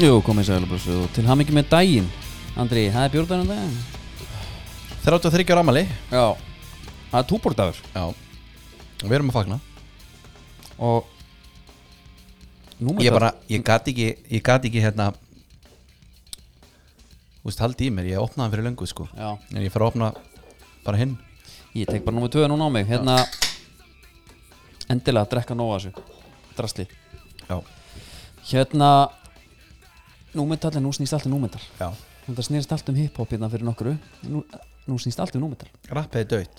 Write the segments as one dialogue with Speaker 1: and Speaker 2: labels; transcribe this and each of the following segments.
Speaker 1: Jú, komið sæl blessu og til hamingi með daginn Andri, það er bjórdagur um daginn
Speaker 2: 33 ára amali
Speaker 1: Já Það er túbordagur
Speaker 2: Já Oh Og við erum að fagna
Speaker 1: og númer
Speaker 2: Ég bara, ég gati ekki, ég gati ekki hérna Þú veist, haldi í mér, ég opnaði hann fyrir löngu sko
Speaker 1: Já,
Speaker 2: En ég fara að opna bara hinn
Speaker 1: ég tek bara númer 2 núna á mig Hérna Endilega að drekka nóg af þessu Drasli
Speaker 2: Já,
Speaker 1: Hérna Númetallin, nú snýst allt um númetal
Speaker 2: já
Speaker 1: Það snýst allt um hiphop hérna fyrir nokkru Nú, nú snýst allt um númetal
Speaker 2: Rappið er döitt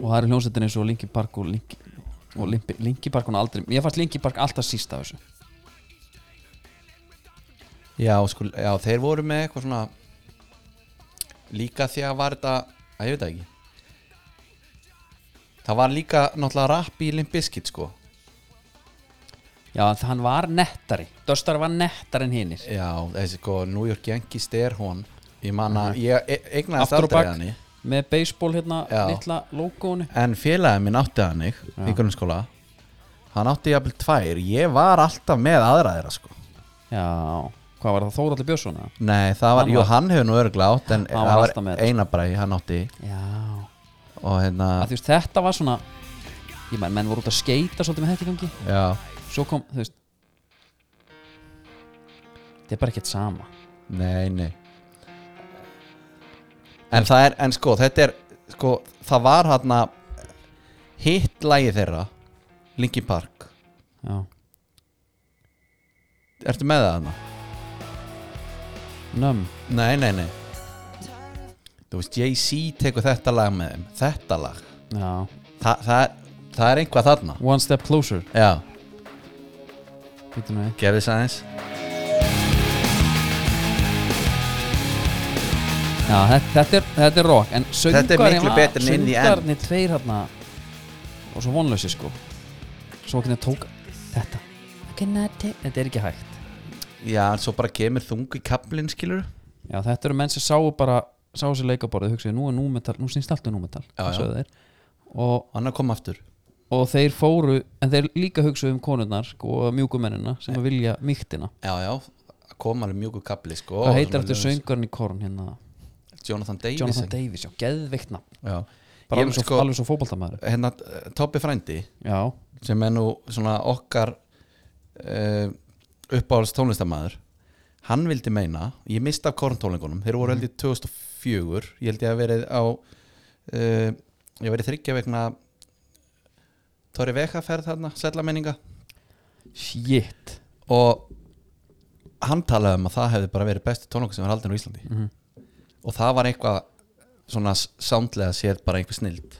Speaker 1: Og það eru hljómsveitin eins og Linkin Park og Linkin og Limpi- Linkin Park hún aldrei Mér fannst Linkin Park alltaf síst af þessu
Speaker 2: Já, sko, já, þeir voru með eitthvað svona Líka því að var þetta Að ég veit það ekki Það var líka náttúrulega rapp í Limp Bizkit sko
Speaker 1: Já, en hann var nettari Döstar var nettari en hinnir
Speaker 2: Já, þessi sko, New York Yankees er hún Ég manna, ég e- eignaðist
Speaker 1: Aftur og
Speaker 2: aldrei
Speaker 1: bak.
Speaker 2: hann í
Speaker 1: Með baseball hérna,
Speaker 2: Já.
Speaker 1: litla logoinu
Speaker 2: En félagið minn átti hannig í grunnskóla Hann átti jafnvel tvær Ég var alltaf með aðra þeirra sko
Speaker 1: Já, hvað var það Þóraldur Björnsson? eða?
Speaker 2: Nei, það var,
Speaker 1: Hann
Speaker 2: jú,
Speaker 1: var-
Speaker 2: hann hefur nú örgulega átt En
Speaker 1: Hann var
Speaker 2: það
Speaker 1: alltaf með
Speaker 2: var
Speaker 1: þeirra,
Speaker 2: einabræ, hann átti
Speaker 1: Já,
Speaker 2: Og hérna,
Speaker 1: að þú veist þetta var svona Ég menn, menn voru út að skeita svolítið með þetta í gangi
Speaker 2: já,
Speaker 1: Svo kom, þú veist Þetta er bara ekkert sama
Speaker 2: nei, nei En það er, en sko, þetta er Sko, það var hann Hitt lagi þeirra Linkin Park
Speaker 1: Já,
Speaker 2: Ertu með það hann?
Speaker 1: nömm
Speaker 2: Nei, nei, nei Þú veist, Jay-Z tekur þetta lag með þeim Þetta lag
Speaker 1: Já,
Speaker 2: Þa, það, er, það er einhvað þarna
Speaker 1: one step closer
Speaker 2: Já,
Speaker 1: Býtum við
Speaker 2: gefið þess aðeins
Speaker 1: Já, þetta, þetta, er, þetta er rock En söngarinn
Speaker 2: Þetta er miklu betur en In the End.
Speaker 1: Söngarnir tveir hérna Og svo vonlösi sko Svo hvernig tók þetta Þetta er ekki hægt
Speaker 2: Já, en svo bara kemur þungu í kaplinn, skilur
Speaker 1: Já, þetta eru menn sem sáu bara sáu sér leikaborðið, hugsaðu, nú er númetal nú snýst allt um númetal,
Speaker 2: Já, já.
Speaker 1: sögðu þeir og,
Speaker 2: Annar kom aftur
Speaker 1: og þeir fóru, en þeir líka hugsaðu um konurnar sko, og mjúkumennina sem að vilja mýktina
Speaker 2: Já, já, það kom alveg mjög úr kapli, sko
Speaker 1: Hvað
Speaker 2: Og
Speaker 1: heitir
Speaker 2: svona
Speaker 1: eftir
Speaker 2: lög-
Speaker 1: söngurinn í korn hérna,
Speaker 2: Jonathan Davis
Speaker 1: Jonathan
Speaker 2: ekki?
Speaker 1: Davis, já, geðveikna
Speaker 2: Já,
Speaker 1: bara
Speaker 2: ég,
Speaker 1: alveg svo,
Speaker 2: sko,
Speaker 1: alveg svo fótboltamæður
Speaker 2: hérna, Toppi frændi
Speaker 1: Já,
Speaker 2: sem er nú svona okkar uh, uppáhalds tónlistamæður hann vildi meina ég misti af korntólingunum, þeir voru held í 2004, ég held ég að verið á uh, ég verið þryggja vegna Tóri Vega ferð þarna, sællamenninga
Speaker 1: shit
Speaker 2: og hann talaði um að það hefði bara verið bestu tónlokk sem var haldin á Íslandi
Speaker 1: Mhm.
Speaker 2: og það var eitthvað svona s- soundlega séð bara einhver snild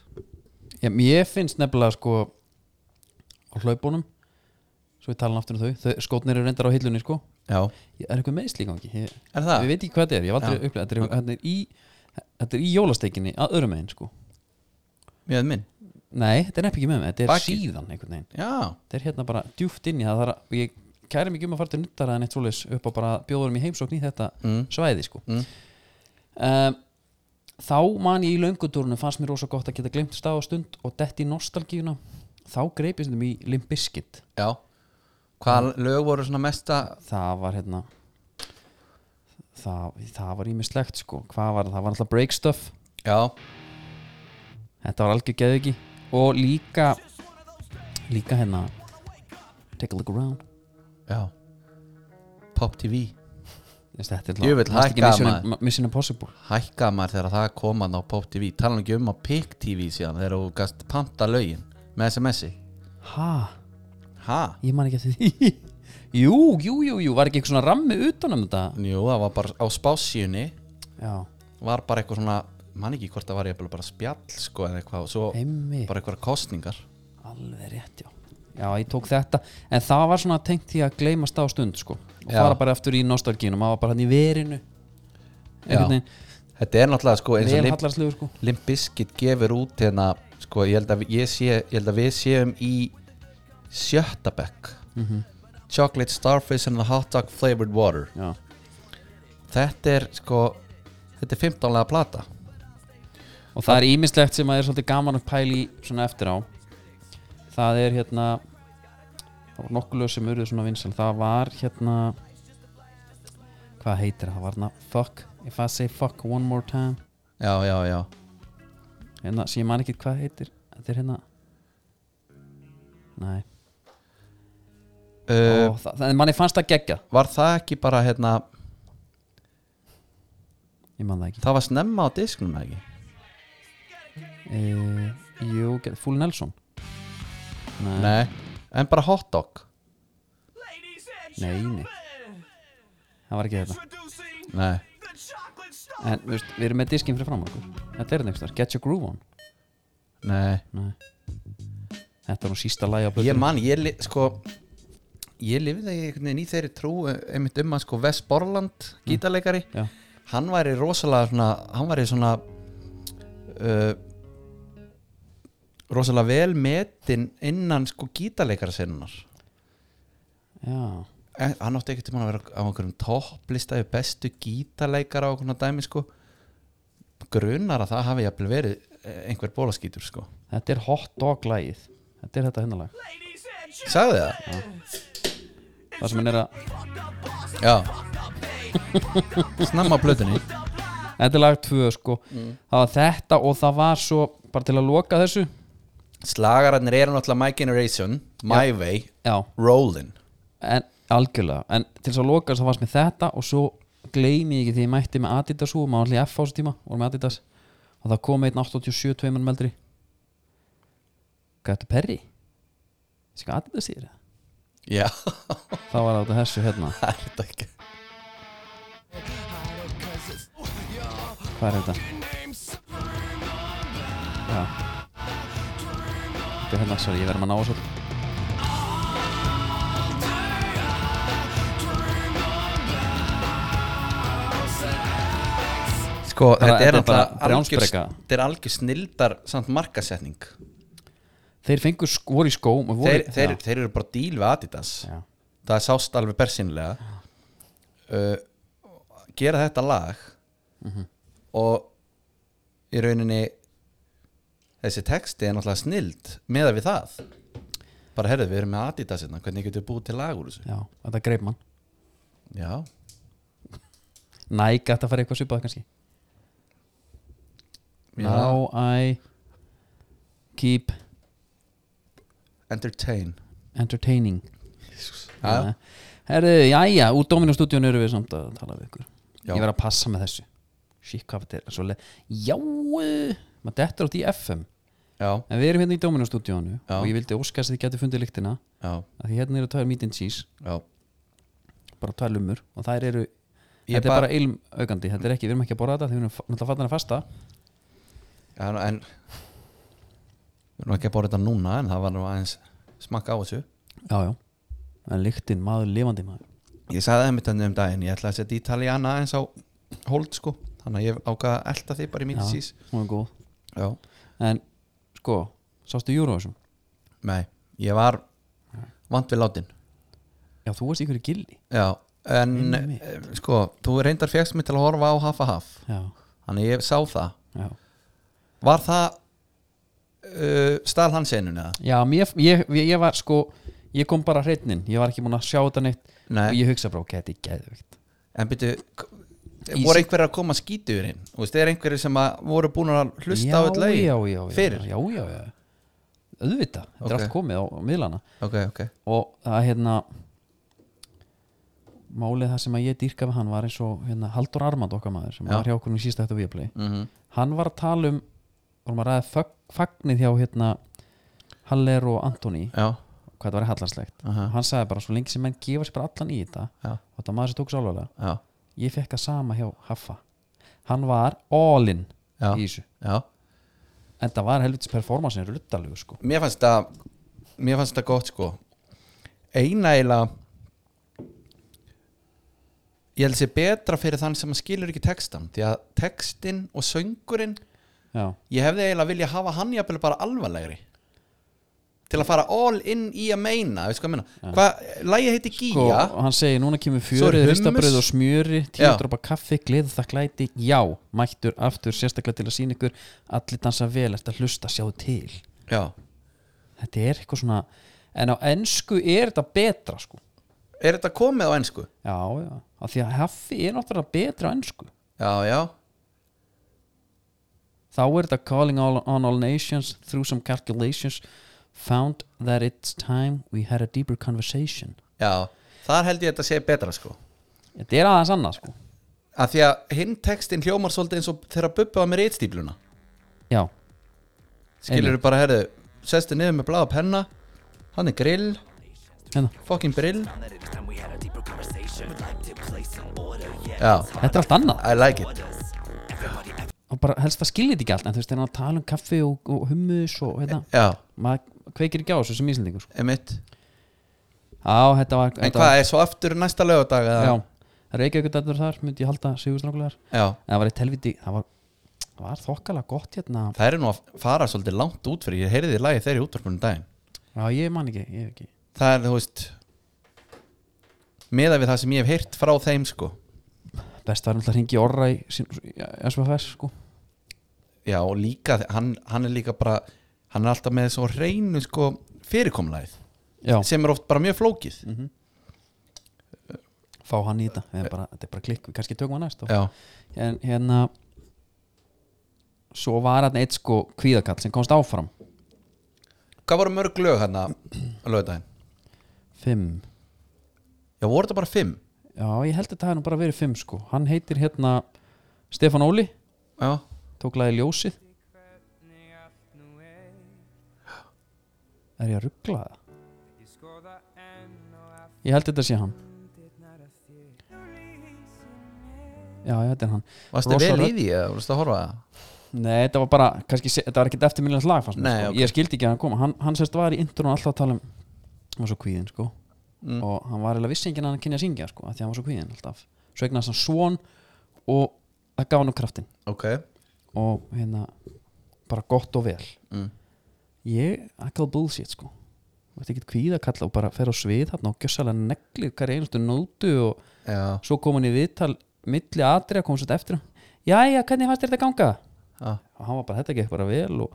Speaker 1: Já, mér finnst nefnilega sko á hlaupunum svo við tala aftur um þau, þau skotnir eru reyndar á hillunni sko,
Speaker 2: já,
Speaker 1: ég er eitthvað meðsli í gangi ég,
Speaker 2: er það?
Speaker 1: Við veit ekki hvað þetta er, ég hef aldrei
Speaker 2: Já.
Speaker 1: upplifað þetta, er- þetta er í Þetta er í jólasteikinni að öðrum megin sko
Speaker 2: Mjög minn?
Speaker 1: Nei, þetta er nefn ekki með mig, þetta er
Speaker 2: Bakið.
Speaker 1: síðan einhvern veginn
Speaker 2: Já,
Speaker 1: Þetta er hérna bara djúft inn í það, það er að, Ég kæri mikið um að fara til nuttara en eitt svoleiðis upp á bara bjóðurum í heimsókn í þetta
Speaker 2: Mm.
Speaker 1: svæði sko
Speaker 2: Mm.
Speaker 1: um, Þá man ég í löngutúrunum fannst mér rosa gott að geta glemt stað og stund og dett í nostalgíuna Þá greipið sem í Limbiskit
Speaker 2: já Hvaða lög voru svona mesta
Speaker 1: það var hérna það, það var ímislegt sko hvað var það, það var alltaf break stuff
Speaker 2: Já,
Speaker 1: þetta var algjör geðviki og líka líka hérna take a look around
Speaker 2: já Pop TV
Speaker 1: Þess, þetta er
Speaker 2: Jöfull,
Speaker 1: það ekki
Speaker 2: hækkaði
Speaker 1: mission, mission Impossible
Speaker 2: Hækkaði maður þegar það kom að á Pop TV Talan ekki um á Pick TV síðan þegar þú gast panta lögin með SMS-i
Speaker 1: ha,
Speaker 2: Ha?
Speaker 1: ég man ekki eftir því jú, jú, jú, jú, var ekki eitthvað svona rammi utanum þetta
Speaker 2: Jú, það var bara á spásíunni
Speaker 1: já,
Speaker 2: var bara eitthvað svona man ekki hvort það var ég bara spjall sko eða eitthvað og svo
Speaker 1: heimmi,
Speaker 2: bara eitthvað kostningar
Speaker 1: alveg rétt já já, ég tók þetta, en það var svona tengt því að gleymast á stund sko og
Speaker 2: Já.
Speaker 1: fara bara aftur í nostalgínum, maður var bara hann í verinu
Speaker 2: Já.
Speaker 1: einhvern veginn
Speaker 2: Þetta er náttúrulega sko eins og
Speaker 1: vel
Speaker 2: Limp,
Speaker 1: hallarslugur sko
Speaker 2: Limp Bizkit gefur út hérna sko ég held að, ég sé, ég held að við séum í sjötta bekk
Speaker 1: Mhm.
Speaker 2: Chocolate Starfish and the Hot Dog Flavored Water
Speaker 1: já.
Speaker 2: þetta er sko þetta er 15 lega plata
Speaker 1: og það er ímislegt sem að er svolítið gaman að pæli svona eftir á það er hérna það var nokkuð lög sem urðu svona vinsal það var hérna hvað heitir það, það var hérna fuck, if I say fuck one more time
Speaker 2: já, já, já
Speaker 1: hérna, sem ég man ekki hvað heitir þetta er hérna nei,
Speaker 2: uh,
Speaker 1: Ó, það, það, manni fannst það gegja
Speaker 2: Var það ekki bara hérna
Speaker 1: ég man það ekki
Speaker 2: Það var snemma á disknum eða ekki
Speaker 1: e, jú, ge- Full Nelson nei, nei,
Speaker 2: Nei, en bara hotdog
Speaker 1: nei, það var ekki þetta
Speaker 2: Nei,
Speaker 1: en þú veist, við erum með diskinn fyrir fram okkur þetta er neikstar, Get Your Groove On
Speaker 2: nei
Speaker 1: Nei. Þetta var nú sísta lagi á
Speaker 2: Ég
Speaker 1: blöðunum
Speaker 2: man, ég li, sko Ég lifði einhvern veginn í þeirri trú eh, einmitt um að sko Wes Borland gítarleikari,
Speaker 1: Já.
Speaker 2: hann væri rosalega svona, hann væri svona uh, rosalega vel metin innan sko gítarleikara sinnar
Speaker 1: Já,
Speaker 2: En hann átti ekkert tímann að vera á einhverjum topplista yfir bestu gítarleikara og svona dæmi sko grunar að það hafi jafnvel verið eh, einhver bólaskítur sko
Speaker 1: þetta er hot dog lagið Þetta er þetta hérna lag
Speaker 2: Sagði það?
Speaker 1: Það sem hann er að,
Speaker 2: Já Snemma á plötunni
Speaker 1: þetta er lag 2 sko Það var þetta og það var svo bara til að loka þessu
Speaker 2: Slagararnir eru náttúrulega My Generation My Way,
Speaker 1: Já,
Speaker 2: Rollin
Speaker 1: en algjörlega En til þess að loka þessu það varst með þetta og svo gleymi ég ekki því ég mætti með Adidas og maður allir F á þessu tíma og með Adidas og það kom einn 87 tveimur meldri Hvað þetta Perry? Þessi hvað Adidas þýðir það?
Speaker 2: Já,
Speaker 1: Þá var þetta þessu hérna
Speaker 2: það er þetta ekki
Speaker 1: Hvað er þetta? Já Þetta er hérna, sorry, ég verðum að ná þessu
Speaker 2: Sko,
Speaker 1: Bara-
Speaker 2: þetta er
Speaker 1: þetta er bara
Speaker 2: náttúrulega algjör,
Speaker 1: brjánspreka.
Speaker 2: þetta er algjör snildar samt markasetning
Speaker 1: Þeir fengur skor í skóm og voru-
Speaker 2: þeir, þeir,
Speaker 1: Já,
Speaker 2: þeir eru bara að díl við Adidas
Speaker 1: já.
Speaker 2: það sást alveg bersinlega uh, gera þetta lag og í rauninni þessi texti er náttúrulega snild meða við það bara herðu við erum með Adidas hérna, hvernig getur við búið til lag úr þessu
Speaker 1: já, þetta greip mann
Speaker 2: já,
Speaker 1: Nike ætti að fara eitthvað svipað kannski
Speaker 2: Já.
Speaker 1: Now I keep
Speaker 2: entertain
Speaker 1: entertaining
Speaker 2: já,
Speaker 1: Nei. Herðu, jæja, úr Dominostúdíun eru við samt að tala við ykkur
Speaker 2: Já.
Speaker 1: Ég verð að passa með þessu Shit, hvað þetta er svo leið Já, eh, maður dettur átt í FM
Speaker 2: já,
Speaker 1: En við erum hérna í Dominostúdíónu
Speaker 2: Já.
Speaker 1: og ég vildi óskast að þið geti fundið lyktina
Speaker 2: já,
Speaker 1: að því hérna eru tvær meat and cheese
Speaker 2: já.
Speaker 1: bara tvær lumur og þær eru
Speaker 2: Ég
Speaker 1: þetta
Speaker 2: ba-
Speaker 1: er bara ilmaukandi, þetta er ekki, við erum ekki að borða þetta því við erum fa- náttúrulega fattan að fasta
Speaker 2: já nú, en við erum ekki að bóra þetta núna en það var nú aðeins smakka á þessu
Speaker 1: já, já, en lyktin maður lifandi maður
Speaker 2: ég sagði það mitt þannig um daginn ég ætla að setja Italiana eins á hold sko, þannig að ég ákvaða að elta þig bara í mítið sís
Speaker 1: hún er góð
Speaker 2: Já,
Speaker 1: en sko, sástu Eurovision
Speaker 2: nei, ég var vant við látin
Speaker 1: já, þú varst í ykkur gildi
Speaker 2: Já, en
Speaker 1: Einmitt.
Speaker 2: eh, sko, þú reyndar fegst mig til að horfa á haf að haf
Speaker 1: já,
Speaker 2: Þannig ég sá það
Speaker 1: já,
Speaker 2: Var það uh, stál hans einun eða?
Speaker 1: já mér, ég, ég, ég var sko ég kom bara hreitnin, ég var ekki múin að sjá þetta neitt og
Speaker 2: Nei,
Speaker 1: ég hugsa bara, ok, þetta er geðvikt
Speaker 2: en byrju k-
Speaker 1: Í
Speaker 2: voru
Speaker 1: sig-
Speaker 2: einhverjir að koma skítur inn Þú veist, er einhverjir sem að voru búin að hlusta
Speaker 1: já,
Speaker 2: á eitt
Speaker 1: já,
Speaker 2: lagi
Speaker 1: já, já,
Speaker 2: Fyrir?
Speaker 1: já, já, já, auðvitað, þetta er
Speaker 2: Ok.
Speaker 1: allt komið á, á miðlana
Speaker 2: Ok, ok
Speaker 1: og það er hérna málið það sem að ég dýrka við hann var eins og hérna, Haldur Armand okkar maður sem
Speaker 2: Já.
Speaker 1: var hjá okkur nú síst eftir viðplay
Speaker 2: mm
Speaker 1: hann var að tala um vorum að ræða fög- fagnið hjá hérna Haller og Antoni
Speaker 2: Já,
Speaker 1: hvað þetta var hallanslegt
Speaker 2: Aha.
Speaker 1: og hann sagði bara svo lengi sem menn gefa sér bara allan í þetta
Speaker 2: Já.
Speaker 1: og þetta maður sem tók sálega
Speaker 2: já,
Speaker 1: ég fekk það sama hjá Haffa hann var all in
Speaker 2: Já.
Speaker 1: í þessu
Speaker 2: já
Speaker 1: en það var helvitis performansin ruttalegu sko
Speaker 2: Mér fannst það Mér fannst það gott sko Eina eiginlega Ég held sér betra fyrir þann sem skilur ekki textan Því að textin og söngurinn
Speaker 1: já,
Speaker 2: Ég hefði eiginlega vilja hafa hann jafnvel bara alvarlegri Til að fara all in í að meina Veist hvað ég meina Hvað, lagið heiti
Speaker 1: sko,
Speaker 2: Gía
Speaker 1: og hann segir núna kemur
Speaker 2: Svo er
Speaker 1: fjörið,
Speaker 2: hummus.
Speaker 1: ristabröð og smjöri tíu
Speaker 2: Já.
Speaker 1: dropa kaffi, gleðu það glæti já, mættur aftur, sérstaklega til að sína ykkur allir dansa vel, ert að hlusta, sjáðu til
Speaker 2: Já,
Speaker 1: þetta er eitthvað svona en á ennsku er þetta betra sko
Speaker 2: Er þetta komið á ensku?
Speaker 1: já, já, af því að Haffi er náttúrulega betra á ennsku
Speaker 2: Já, já
Speaker 1: þá er þetta calling all, on all nations through some calculations found that it's time we had a deeper conversation
Speaker 2: Já, þar held ég að þetta sé betra sko
Speaker 1: þetta er aðeins annað sko
Speaker 2: Af því að hinn textin hljómar svolítið eins og þegar að bubba var með reitstípluna
Speaker 1: já,
Speaker 2: Skilur bara, herðu, sestu niður með blaða penna Hann er grill,
Speaker 1: hérna
Speaker 2: fucking brill
Speaker 3: that it is time we had a deeper conversation. Would like to play some order, yeah.
Speaker 2: Já,
Speaker 1: Þetta er allt annað
Speaker 2: I like it
Speaker 3: Everybody, everybody,
Speaker 1: og bara helst það skiljið ekki allt en þú veist, þegar að tala um kaffi og, og hummus og hérna,
Speaker 2: Já,
Speaker 1: maður kveikir ekki á þessu sem íslendingur sko.
Speaker 2: emitt
Speaker 1: á, þetta var
Speaker 2: En
Speaker 1: þetta
Speaker 2: hvað, er svo aftur næsta lögadag?
Speaker 1: var,
Speaker 2: eða?
Speaker 1: já, Reykjavík dættur þar myndi ég halda sigurstrákulegar
Speaker 2: já
Speaker 1: en það var eitt helviti, það var það var þokkala gott hérna
Speaker 2: Það er nú að fara svolítið langt út fyrir Ég heyrði í lagi þeirri útvarpunum daginn
Speaker 1: já, ég man ekki, ég ekki
Speaker 2: Það er, þú veist Meða við það sem ég hef heyrt frá þeim sko
Speaker 1: best var náttúrulega að ringi orra í SVFS sko
Speaker 2: Já, og líka, hann, hann er líka bara Hann er alltaf með svo reynu sko fyrirkomlæð
Speaker 1: já,
Speaker 2: sem er oft bara mjög flókið
Speaker 1: fá hann í þetta Við erum bara, þetta er bara klikk, við kannski tökum hann næst og-
Speaker 2: Já,
Speaker 1: en hérna svo var hann eitt sko kvíðakall sem komst áfram
Speaker 2: hvað voru mörg lög hérna á lögudaginn?
Speaker 1: fimm
Speaker 2: Já, voru þetta bara fimm?
Speaker 1: Já, ég held að þetta hafi nú bara verið fimm sko Hann heitir hérna Stefán Óli
Speaker 2: Já,
Speaker 1: Tók lagi ljósið Er ég að ruggla það? Ég held að þetta sé hann Já, já, þetta er hann
Speaker 2: varstu
Speaker 1: Rosa
Speaker 2: vel í
Speaker 1: rödd.
Speaker 2: því eða varstu að horfa að það?
Speaker 1: Nei, þetta var bara, kannski, se- þetta var ekkert eftirminnilegt lag fannst mér,
Speaker 2: Nei,
Speaker 1: sko.
Speaker 2: ok.
Speaker 1: Ég skildi ekki að hann koma Hann, hann sérst var í intrun alltaf að tala um Hann var svo kvíðin, sko
Speaker 2: Mm.
Speaker 1: Og hann var eiginlega vissi enginn að hann kynja að syngja, sko af Því hann var svo kvíðin alltaf Svo eignast hann svon Og það gaf hann kraftin
Speaker 2: Ok,
Speaker 1: og hérna bara gott og vel
Speaker 2: Mm.
Speaker 1: ég, akkur bullshit sko þetta er ekkert kvíða kalla og bara fer á svið þarna og gjössalega neglir hverja einustu nótu og
Speaker 2: já,
Speaker 1: svo kom hann í viðtal milli atriða kom sér eftir jæja, hvernig fannst þér þetta ganga?
Speaker 2: já.
Speaker 1: og hann var bara, þetta gekk bara vel og,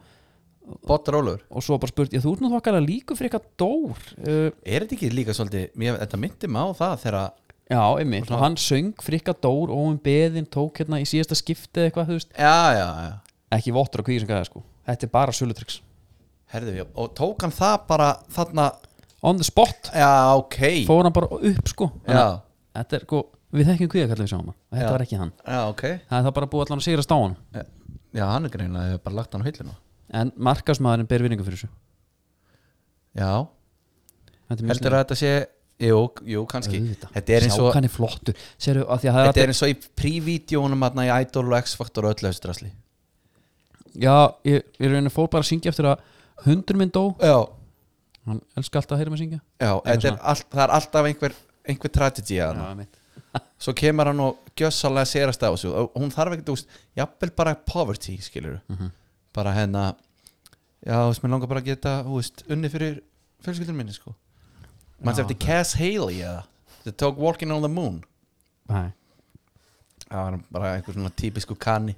Speaker 2: Bottar Ólfur
Speaker 1: og svo bara spurt, ég þú ert nú þokkala líku fyrir eitthvað dór uh,
Speaker 2: Er þetta ekki líka svolítið, mér, þetta myndi mig á það þegar að
Speaker 1: já, einmitt, og hann söng fyrir eitthvað dór og um beðin tók hérna í síðasta skipti eða eitthvað, þú veist,
Speaker 2: Já, já, já
Speaker 1: ekki vottur og kvíð sem gæði sko, þetta er bara sölutryggs
Speaker 2: Herðu, já, og tók hann það bara þarna
Speaker 1: on the spot,
Speaker 2: Já, ok Já,
Speaker 1: fór hann bara upp sko Þannig að-
Speaker 2: já,
Speaker 1: þetta er sko, við þekkjum kvíðakallið við sjáum hann, þetta
Speaker 2: Já.
Speaker 1: var ekki hann
Speaker 2: ok
Speaker 1: það er það bara búið allan að sigrast á hann
Speaker 2: Já, hann er greinlega, hefur bara lagt hann á hillinu
Speaker 1: en markasmaðurinn ber vinningu fyrir þessu
Speaker 2: Já,
Speaker 1: þetta er mjög
Speaker 2: heldur að þetta sé Jú, jú, kannski
Speaker 1: Auðvitað.
Speaker 2: Þetta er eins
Speaker 1: sjá
Speaker 2: og
Speaker 1: hvað hann er flottur Seru, að að
Speaker 2: Þetta
Speaker 1: þetta
Speaker 2: er eins og í prívídjónum aðna í Idol og X-Factor og öllu þessu drasli
Speaker 1: já, ég, ég raunin fór bara að syngja eftir að hundur minn dó
Speaker 2: Já,
Speaker 1: hann elskar alltaf að heyra mig syngja
Speaker 2: já þetta er
Speaker 1: svona.
Speaker 2: all, það er alltaf einhver, einhver tragedy að hana
Speaker 1: já, mitt.
Speaker 2: Svo kemur hann og gjössalega sérast á þessu og hún þarf ekkert, þú veist, jafnvel bara poverty, skilur
Speaker 1: Mhm.
Speaker 2: bara hérna Já, þú veist, mér langar bara að geta, þú veist, unni fyrir fjölskyldunum minni, sko Manns
Speaker 1: Já,
Speaker 2: eftir Cass Haley, eða The Talk Walking on the Moon
Speaker 1: Nei.
Speaker 2: Það var bara einhver svona típisku kanni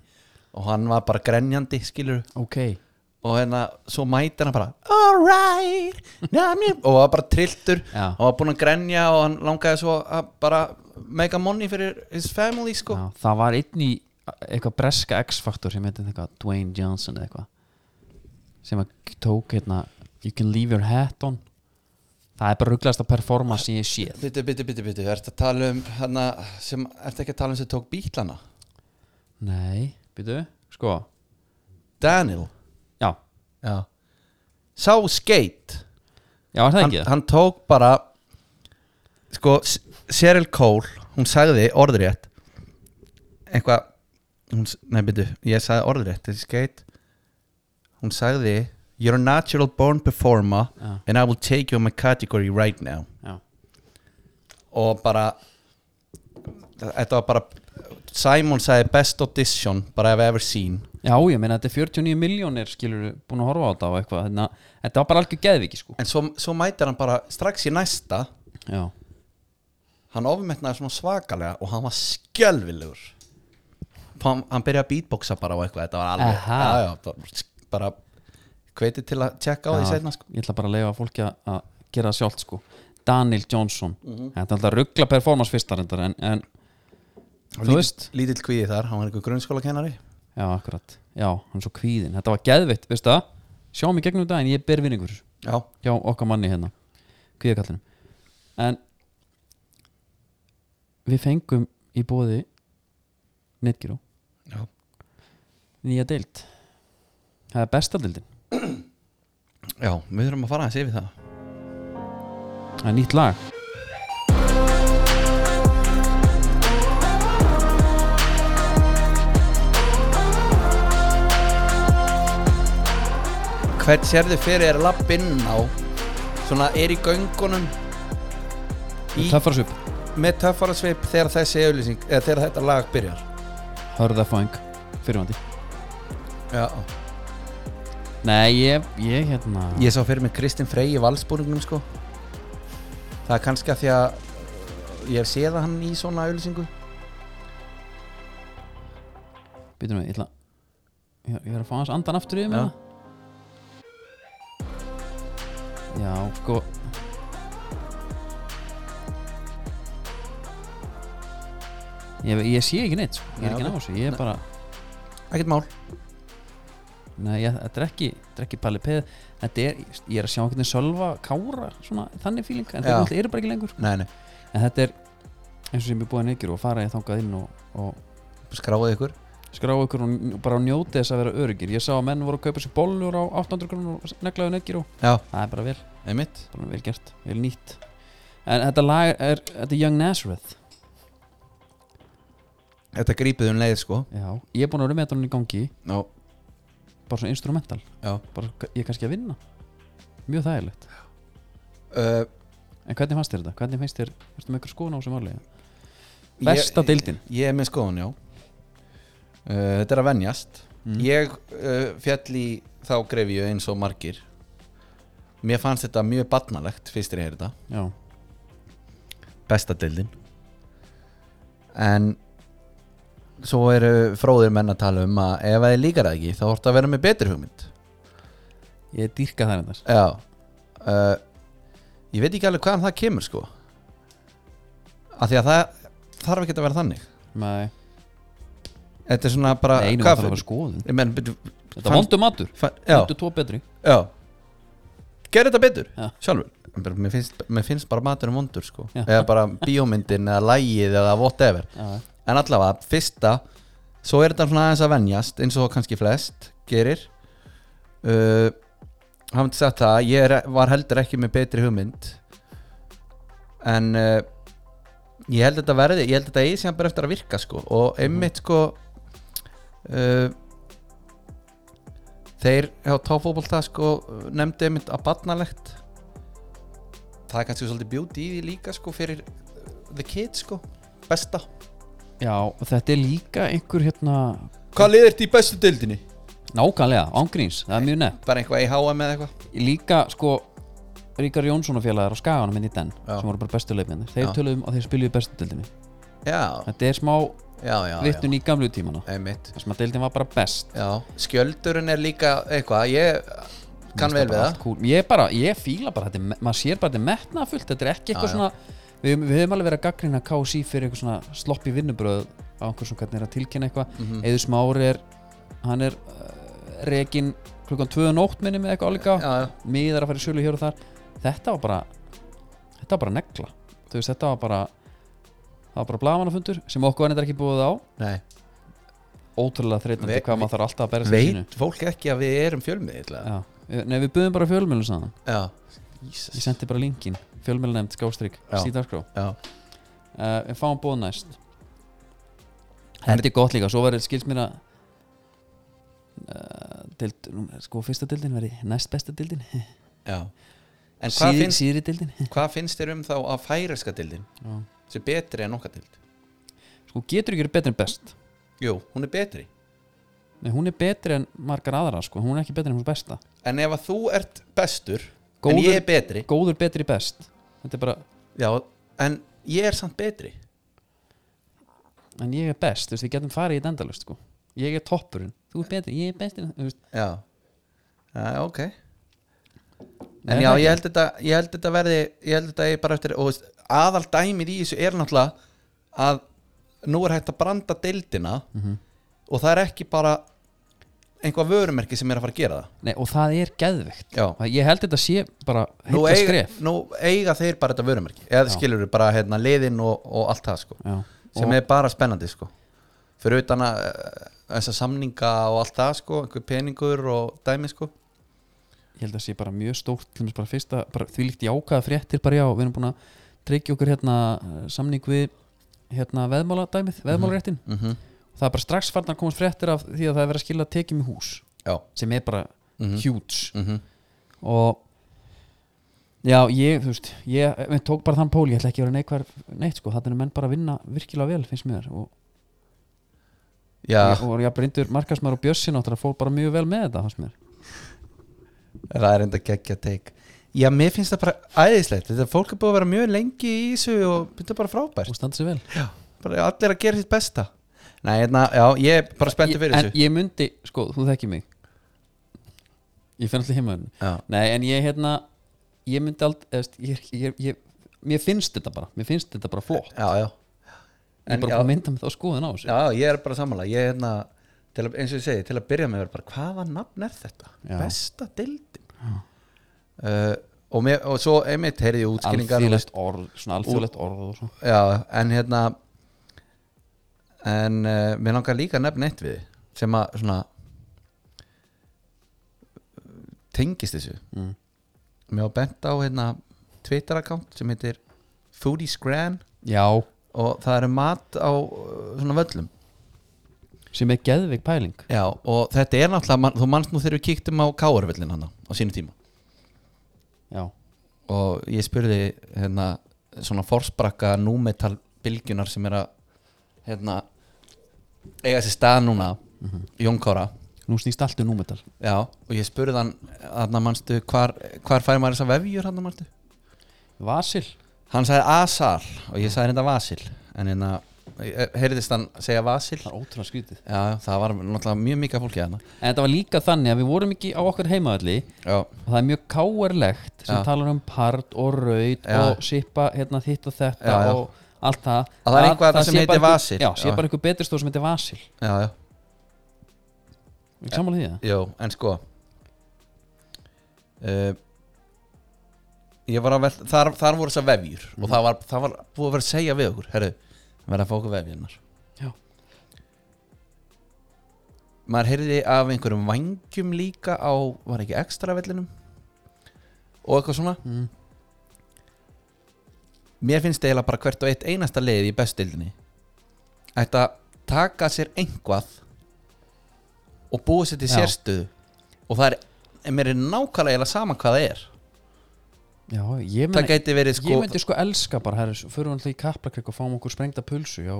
Speaker 2: og hann var bara grenjandi, skilur
Speaker 1: ok,
Speaker 2: og hérna svo mæti hann bara alright njá, njá, og var bara trilltur
Speaker 1: Já.
Speaker 2: og var búinn að grenja og hann langaði svo að bara make a money fyrir his family sko
Speaker 1: já, það var einn í eitthvað breska X-faktor sem heitir eitthvað Dwayne Johnson eða eitthvað sem að tók hérna you can leave your hat on það er bara rugglasta performance sem ég séð
Speaker 2: bitu, bitu, bitu, bitu, ertu að tala um hana, sem, ertu ekki að tala um sem tók bílana
Speaker 1: Nei, býtu, sko
Speaker 2: Daniel
Speaker 1: Já,
Speaker 2: Já. sá skate
Speaker 1: já, er það
Speaker 2: hann,
Speaker 1: ekki það?
Speaker 2: hann tók bara sko, S- Cheryl Cole hún sagði orðrétt eitthvað hún, s- nei, byrju, ég sagði orðrétt þessi skeit hún sagði You're a natural born performer
Speaker 1: Já.
Speaker 2: and I will take you in my category right now
Speaker 1: Já,
Speaker 2: og bara þetta var bara Simon sagði best audition bara I've ever seen
Speaker 1: já ég meina þetta er 49 miljónir skilur búin að horfa á þetta og eitthvað þannig að þetta var bara algjör geðviki sko
Speaker 2: en svo, svo mætir hann bara strax í næsta
Speaker 1: Já,
Speaker 2: hann ofmetnaði svona svakalega og hann var skjölvilegur hann, hann byrjaði að beatboxa bara og eitthvað þetta var alveg
Speaker 1: Aha.
Speaker 2: já, já, bara, bara hvetið til að tjekka á því
Speaker 1: Já,
Speaker 2: setna sko.
Speaker 1: ég ætla bara að leifa fólki að- að gera það sjálft sko Daniel Johnson þetta er alltaf ruggla performance fyrstar endar en, en Þú
Speaker 2: Og lítill-
Speaker 1: veist.
Speaker 2: Lítill kvíði þar, hann var einhver grunnskóla kennari
Speaker 1: já, akkurat, já, hann er svo kvíðin þetta var geðvitt, veistu það sjáum í gegnum daginn, ég ber vinningur
Speaker 2: Já,
Speaker 1: hjá okkar manni hérna kvíðakallinum en við fengum í bóði Netgyro
Speaker 2: Já.
Speaker 1: nýja deild það er besta deildin
Speaker 2: já við þurfum að fara að sé við það
Speaker 1: það er nýtt lag
Speaker 2: Hvern sérðu fyrir er lappinn á Svona er í göngunum í,
Speaker 1: töffar upp,
Speaker 2: Með töffara svip þegar þessi auðlýsing Eða þegar þetta lag byrjar
Speaker 1: hörðafóing fyrirvandi
Speaker 2: Já
Speaker 1: Nei, ég, ég hérna
Speaker 2: Ég sá fyrir mig Kristinn Frey í valsbúringnum sko Það er kannski að því að Ég hef séð hann í svona auðlýsingu
Speaker 1: Býtum við, ég ætla Ég ég verð að fá hans andan aftur í mig Já, sko Ég, ég sé ekki neitt, sko. ég er
Speaker 2: Nei,
Speaker 1: ekki
Speaker 2: ok.
Speaker 1: ná þessu Ég er bara,
Speaker 2: Ekkert mál
Speaker 1: nei, ég, þetta er ekki Þetta er ekki palli peð Þetta er, ég er að sjá einhvern veginn sölva kára Svona, þannig fíling, en
Speaker 2: Já.
Speaker 1: þetta er bara ekki lengur
Speaker 2: Nei, nei,
Speaker 1: En þetta er, eins og sem ég búið að neykjur Og fara ég þangað inn og, og
Speaker 2: skráðu ykkur
Speaker 1: skrá ykkur og n- bara njóti þess að vera örugir ég sá að menn voru að kaupa sér bollur á 800 grunn og neglaðu negir og
Speaker 2: Já,
Speaker 1: það er bara vel,
Speaker 2: einmitt
Speaker 1: bara vel gert vel nýtt en þetta lag er, þetta er Young Nazareth
Speaker 2: Þetta grípið um leið sko
Speaker 1: já, ég er búin að vera með þetta í gangi
Speaker 2: Já,
Speaker 1: bara svona instrumental,
Speaker 2: já
Speaker 1: bara k- ég er kannski að vinna mjög þægilegt
Speaker 2: uh,
Speaker 1: en hvernig fannst þér þetta, hvernig finnst þér erstu með ykkur skoðun á sem varlega, besta deildin
Speaker 2: Ég er með skoðun, já uh, Þetta er að venjast Ég uh, fjall í þá grefju eins og margir Mér fannst þetta mjög barnalegt fyrst þegar ég heyrði þetta
Speaker 1: já,
Speaker 2: Besta deildin En Svo eru fróðir menn að tala um að ef það líkar það ekki þá orðið að vera með betri hugmynd
Speaker 1: ég dýrka það endar
Speaker 2: Já uh, Ég veit ekki alveg hvaðan það kemur sko Af því að það þarf ekki að vera þannig
Speaker 1: nei,
Speaker 2: Þetta er svona bara
Speaker 1: einu var
Speaker 2: hvað-
Speaker 1: það að vera sko- skoðun
Speaker 2: Ég menn, byrju,
Speaker 1: þetta
Speaker 2: fann-
Speaker 1: er vondu matur,
Speaker 2: fann- Já,
Speaker 1: vondu tvo betri
Speaker 2: já Gerðu þetta betur,
Speaker 1: Já.
Speaker 2: sjálfur En bara, mér finnst, mér finnst bara maturinn vondur sko.
Speaker 1: Já.
Speaker 2: Eða bara bíómyndin eða lægið eða whatever
Speaker 1: já,
Speaker 2: En allavega, fyrsta Svo er þetta svona aðeins að venjast Eins og kannski flest gerir uh, Hafum til sagt það Ég er, var heldur ekki með betri hugmynd En uh, Ég held þetta verði Ég held þetta eigi sem bara eftir að virka sko. Og einmitt sko uh, Þeir hjá táfótbolta sko, Nefndi einmitt að barnalegt Það er kannski svolítið beauty í því líka sko, Fyrir the kids sko. Besta
Speaker 1: já, og þetta er líka einhver hérna
Speaker 2: Hvað liðir þetta í bestu dildinni?
Speaker 1: Nákvæmlega, ángríns, það er mjög nefn
Speaker 2: Bara eitthvað IHM eða eitthvað
Speaker 1: Líka sko Ríkar Jónsson og félagar á Skaganum inn í den
Speaker 2: Já.
Speaker 1: sem voru bara bestu leifmennir, þeir
Speaker 2: Já.
Speaker 1: töluðum að þeir spiluðu bestu deildinni,
Speaker 2: Já,
Speaker 1: þetta er smá
Speaker 2: já, já
Speaker 1: vittun í gamlu tímana,
Speaker 2: Einmitt
Speaker 1: þess að deildin var bara best
Speaker 2: Já, skjöldurinn er líka eitthvað Ég kann
Speaker 1: Mér finnst
Speaker 2: vel við
Speaker 1: bara
Speaker 2: það
Speaker 1: allt cool. ég bara, ég fíla bara þetta er me- maður sér bara þetta metnafullt, þetta er ekki eitthvað
Speaker 2: Já, já.
Speaker 1: svona við, við höfum alveg verið að gaggrina KC fyrir eitthvað svona sloppi vinnubröð á einhver svona hvernig er að tilkynna eitthvað mm
Speaker 2: Mhm.
Speaker 1: -hmm. eða smári er, hann er uh, rekin klukkan 2 nótt minni með eitthvað álíka
Speaker 2: Já, já,
Speaker 1: miðar að fara í sölu hér og þar þetta var bara þetta var bara negla Þú veist, þetta var bara það var bara blagamannafundur sem okkur ennir ekki búið á
Speaker 2: nei
Speaker 1: ótrúlega þreytandi
Speaker 2: Ve-
Speaker 1: hvað maður þarf alltaf að berja sig sínu
Speaker 2: Veit fólk ekki að við erum fjölmið Já,
Speaker 1: Já. Nei, við buðum bara fjölmjölun saman
Speaker 2: já
Speaker 1: ég sendi bara linkin, fjölmjölunefnd, skástrík
Speaker 2: Já.
Speaker 1: síðarskrá, uh,
Speaker 2: Já,
Speaker 1: Eh, við fáum bóð næst þetta er gott líka, svo verður skils mér að uh, deild, nú, sko fyrsta dildin verði næst besta dildin,
Speaker 2: já En hvað
Speaker 1: síðri,
Speaker 2: finnst,
Speaker 1: síðri dildin
Speaker 2: hvað finnst þér um þá að færeska dildin?
Speaker 1: Já.
Speaker 2: Sem betri en okkar dild
Speaker 1: sko getur ekki verið betri en best
Speaker 2: Jú, hún er betri
Speaker 1: Nei, hún er betri en margar aðra sko. hún er ekki betri en hún besta
Speaker 2: En ef að þú ert bestur En
Speaker 1: Góður-
Speaker 2: ég er betri
Speaker 1: góður betri best þetta er bara,
Speaker 2: Já, en ég er samt betri
Speaker 1: en ég er best þú veist, við getum farið í þetta endalust sko. ég er toppurinn, þú er betri, ég er bestin þú veist,
Speaker 2: Já, já ok
Speaker 1: Nei,
Speaker 2: en já,
Speaker 1: það ekki.
Speaker 2: ég held þetta ég held þetta verði, ég held þetta er bara eftir og veist, aðal dæmið í þessu er náttúrulega að nú er hægt að branda deildina
Speaker 1: Mhm.
Speaker 2: og það er ekki bara einhvað vörumerki sem er að fara að gera það
Speaker 1: Nei, og það er geðvikt
Speaker 2: Já.
Speaker 1: ég held þetta sé bara
Speaker 2: nú
Speaker 1: heilla
Speaker 2: eiga,
Speaker 1: skref
Speaker 2: nú eiga þeir bara þetta vörumerki eða skilur við bara hérna, liðin og, og allt það sko,
Speaker 1: Já.
Speaker 2: sem
Speaker 1: Og-
Speaker 2: er bara spennandi sko. fyrir utan að þessar samninga og allt það sko, einhver peningur og dæmi sko.
Speaker 1: ég held að sé bara mjög stórt til dæmis bara fyrsta, bara þvílíkt jákaða fréttir bara já, við erum búin að tryggja okkur hérna eh, samning við hérna veðmáladæmið, veðmálaréttin
Speaker 2: mm -hmm.
Speaker 1: það er bara strax farnar að komast fréttir af því að það er verið að skila tekjum í hús
Speaker 2: já
Speaker 1: sem er bara
Speaker 2: mm
Speaker 1: huge
Speaker 2: mm -hmm.
Speaker 1: og já, ég, þú veist ég, ég tók bara þann pól, ég ætla ekki að vera neikvar neitt sko, þannig er menn bara að vinna virkilega vel finnst mér og,
Speaker 2: já,
Speaker 1: og ég brindur markasmar og bjössin áttur að fór bara mjög vel með þetta fannst mér
Speaker 2: það er enda geggja teik já, mér finnst það bara æðislegt þetta fólk er búið að vera mjög lengi í þessu og þetta er bara frábært
Speaker 1: og standa sig vel
Speaker 2: bara allir að gera sitt besta Nei, hérna, já, ég er bara spenntur fyrir
Speaker 1: en
Speaker 2: þessu
Speaker 1: ég myndi, sko, þú þekki mig ég finn alltaf heimaðurinn
Speaker 2: já,
Speaker 1: nei, en ég hérna ég myndi allt, eðst, ég, ég, ég mér finnst þetta bara, mér finnst þetta bara flott
Speaker 2: já, já
Speaker 1: ég er bara búin að mynda með þá skoðun á þessu
Speaker 2: Já, ég er bara sammála ég er hérna, til að, eins og ég segi, til að byrja með verið bara, hvaða nafn er þetta?
Speaker 1: Já.
Speaker 2: Besta deildin uh, og, mér, og svo einmitt heyrði ég útskýringar og-
Speaker 1: alþjóðlegt orð, svona alþjóðlegt orð og svona
Speaker 2: Já, en hérna en uh, mér langar líka að nefna eitt við sem að svona tengist þessu
Speaker 1: Mm.
Speaker 2: mér var bent á hérna Twitter-account sem heitir Foodies Gran
Speaker 1: já,
Speaker 2: og það eru mat á uh, svona völlum
Speaker 1: sem er geðveik pæling
Speaker 2: Já, og þetta er náttúrulega, man, þú mannst nú þegar við kíktum á Káarvöllin hann á sínu tíma
Speaker 1: já,
Speaker 2: og ég spurði hérna, svona forsprakka númetal bylgjunar sem er að hérna, eiga sér stað núna Jón Kára
Speaker 1: nú snýst allt um númetal
Speaker 2: já, og ég spurði hann hann manstu, hvar, hvar fær maður þessa vefjur hann manstu?
Speaker 1: Vasil,
Speaker 2: Hann sagði Asal og ég sagði hérna Vasil en hérna, heyrðist hann segja Vasil
Speaker 1: það er ótrúlega skrítið
Speaker 2: já, það var náttúrulega mjög mikið af fólki hérna
Speaker 1: en þetta var líka þannig að við vorum ekki á okkar heimaðalli
Speaker 2: já,
Speaker 1: og það er mjög káarlegt sem
Speaker 2: Já.
Speaker 1: talar um part og raut
Speaker 2: Já.
Speaker 1: og sippa hérna þitt og þetta
Speaker 2: Já, já.
Speaker 1: og allt það
Speaker 2: Að það er eitthvað sem
Speaker 1: sé
Speaker 2: heitir
Speaker 1: bara einhver-
Speaker 2: Vasil.
Speaker 1: já, sé
Speaker 2: Já.
Speaker 1: bara einhver betur stór sem heitir vasil
Speaker 2: já, já
Speaker 1: ekki samanlega því það
Speaker 2: Jó, en sko uh, Ég var að velta Þar, þar voru þessar vefjur Og það var, það var búið að vera að segja við okkur Herru, verða að fá okkur vefjurnar
Speaker 1: Já.
Speaker 2: Maður heyrði af einhverjum vangjum líka á Var ekki ekstra vellinum Og eitthvað svona
Speaker 1: Mm.
Speaker 2: Mér finnst eiginlega bara hvert og eitt einasta leið í bestildinni Ætti að taka sér einhvað og búið sér til
Speaker 1: Já.
Speaker 2: sérstöðu og það er, en mér er nákvæmlega eiginlega sama hvað það er
Speaker 1: já, ég,
Speaker 2: það
Speaker 1: meni,
Speaker 2: gæti verið sko
Speaker 1: ég myndi sko elska bara herri, svo förum við alltaf í kaplakrygg og fáum okkur sprengda pulsu já,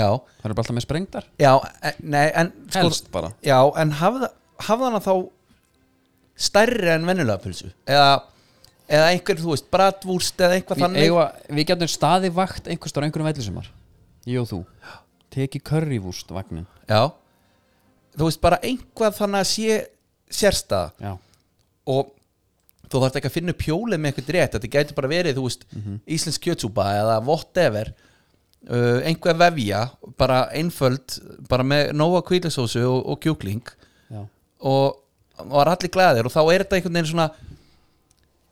Speaker 2: já,
Speaker 1: það eru bara alltaf með sprengdar
Speaker 2: já, en, nei, en sko,
Speaker 1: helst bara
Speaker 2: já, en hafða, hafða hana þá stærri en venjulega pulsu eða, eða einhver, þú veist, bratvúrst eða eitthvað
Speaker 1: við,
Speaker 2: þannig
Speaker 1: eiga, við getum staði vakt einhverstaðar á einhverjum vellisumar ég og þú teki currywurst vagnin
Speaker 2: já, þú veist, bara einhvað þannig að sé sérstæða
Speaker 1: já,
Speaker 2: og þú þarft ekki að finna upp hjólið með eitthvað rétt þetta gæti bara verið, þú veist,
Speaker 1: Mhm.
Speaker 2: íslensk kjötsúpa eða whatever uh, einhver vefja, bara einföld bara með nóga kvílisósu og, og kjúkling
Speaker 1: já,
Speaker 2: og var allir glæðir og þá er þetta einhvern veginn svona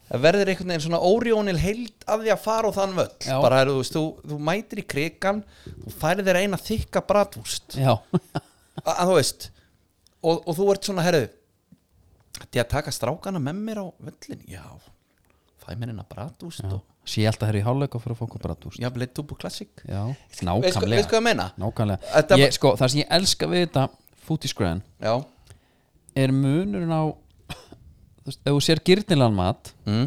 Speaker 2: það verður einhvern veginn svona órjónil heild að því að fara á þann völl
Speaker 1: Já.
Speaker 2: bara, þú, veist, þú, þú mætir í krigan og færir þér eina þykka bratvúst
Speaker 1: já.
Speaker 2: að að þú veist og, og þú ert svona herðu Því að taka strákana með mér á völlin Já, fæ mér hérna bratúst og
Speaker 1: sé alltaf herri í hálfleik og fyrir að fá okkur bratúst
Speaker 2: jafnvel eitt túbú klassik
Speaker 1: já,
Speaker 2: Veist hvað
Speaker 1: nákvæmlega
Speaker 2: veist hvað ég meina?
Speaker 1: Nákvæmlega
Speaker 2: Þetta-
Speaker 1: ég, sko, Það sem ég elska við þetta fútískræðan
Speaker 2: Já
Speaker 1: er munurinn á þú veist, ef þú sér gyrnilegan mat
Speaker 2: mm.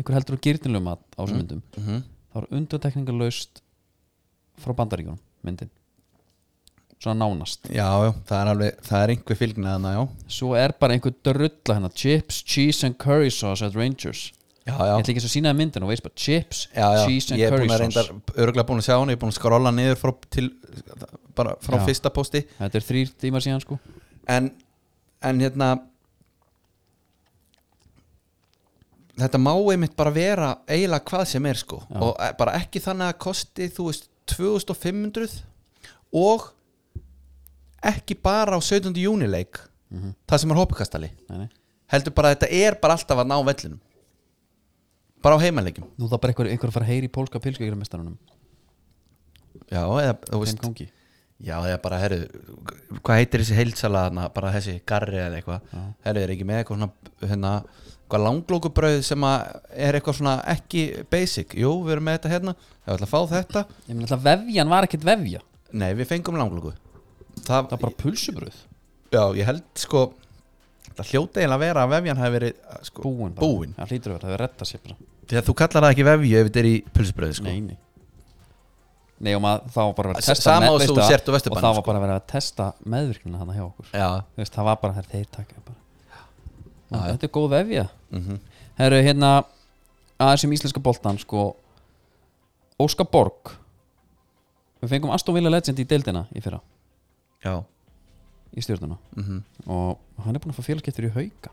Speaker 1: einhver heldur á gyrnilegum mat á þessum myndum
Speaker 2: mhm.
Speaker 1: þá er undantekningarlaust frá bandaríkjunum myndin svona nánast
Speaker 2: Já, já, það er alveg, það er einhver fylgna þarna, já
Speaker 1: svo er bara einhver drulla hérna chips, cheese and curry sauce at Rangers
Speaker 2: Já,
Speaker 1: ég ætla ekki eins og sínaði myndin og veist bara chips,
Speaker 2: já, já.
Speaker 1: cheese and
Speaker 2: Ég er
Speaker 1: curry
Speaker 2: búin að
Speaker 1: sauce
Speaker 2: reyndar, örgulega búin að sjá hann Ég er búin að skrolla niður frá, til, bara frá
Speaker 1: Já.
Speaker 2: fyrsta posti
Speaker 1: þetta er þrýr tímar síðan sko
Speaker 2: En, en hérna þetta má einmitt bara vera eiginlega hvað sem er sko
Speaker 1: Já.
Speaker 2: og eh, bara ekki þannig að kosti þú veist 2500 og ekki bara á 17. júnileik mm -hmm. það sem er hópukastali
Speaker 1: nei, nei.
Speaker 2: heldur bara að þetta er bara alltaf að ná vellinum bara á heimaleikjum
Speaker 1: Nú það bara einhver, einhver að fara að heyri í pólska pilskjögrumistarunum
Speaker 2: já, eða, þú
Speaker 1: Þeim
Speaker 2: veist,
Speaker 1: gangi
Speaker 2: já, eða bara herru, hvað heitir þessi heilsala þarna, bara þessi garri eða eitthvað herru, er ekki með eitthvað svona hérna, eitthvað langlókubrauð sem að er eitthvað svona ekki basic jú, við erum með þetta hérna, ef við ætla að fá þetta
Speaker 1: Ég meina alltaf vefjan var ekkert vefja
Speaker 2: nei, við fengum langlóku það,
Speaker 1: Það er bara pulsubröð
Speaker 2: já, ég held sko það hljóta eiginlega að vera að vefjan hafi verið sko,
Speaker 1: Búin bara
Speaker 2: búin.
Speaker 1: Það hlýtur að vera, það er retta sér bara
Speaker 2: þegar þú kallar það ekki vefju ef þetta er í pulsbröði sko.
Speaker 1: Nei, nei Nei, og maður, það var bara að vera að
Speaker 2: S-
Speaker 1: testa
Speaker 2: sama og
Speaker 1: veistu
Speaker 2: þú
Speaker 1: það?
Speaker 2: sért á Vesturbænum,
Speaker 1: Og það var
Speaker 2: sko.
Speaker 1: bara að vera að testa meðvirknina hana hjá okkur
Speaker 2: já,
Speaker 1: Þú veist, það var bara þegar þeir taka bara.
Speaker 2: Já, já.
Speaker 1: Þetta er góð vefja
Speaker 2: mm
Speaker 1: Herru, hérna að þessum íslenska boltan sko Óskar Borg Við fengum Aston Villa Legend í deildina í fyrra
Speaker 2: já
Speaker 1: í stjórnuna
Speaker 2: mm
Speaker 1: og hann er búin að fá félagskiptur í hauka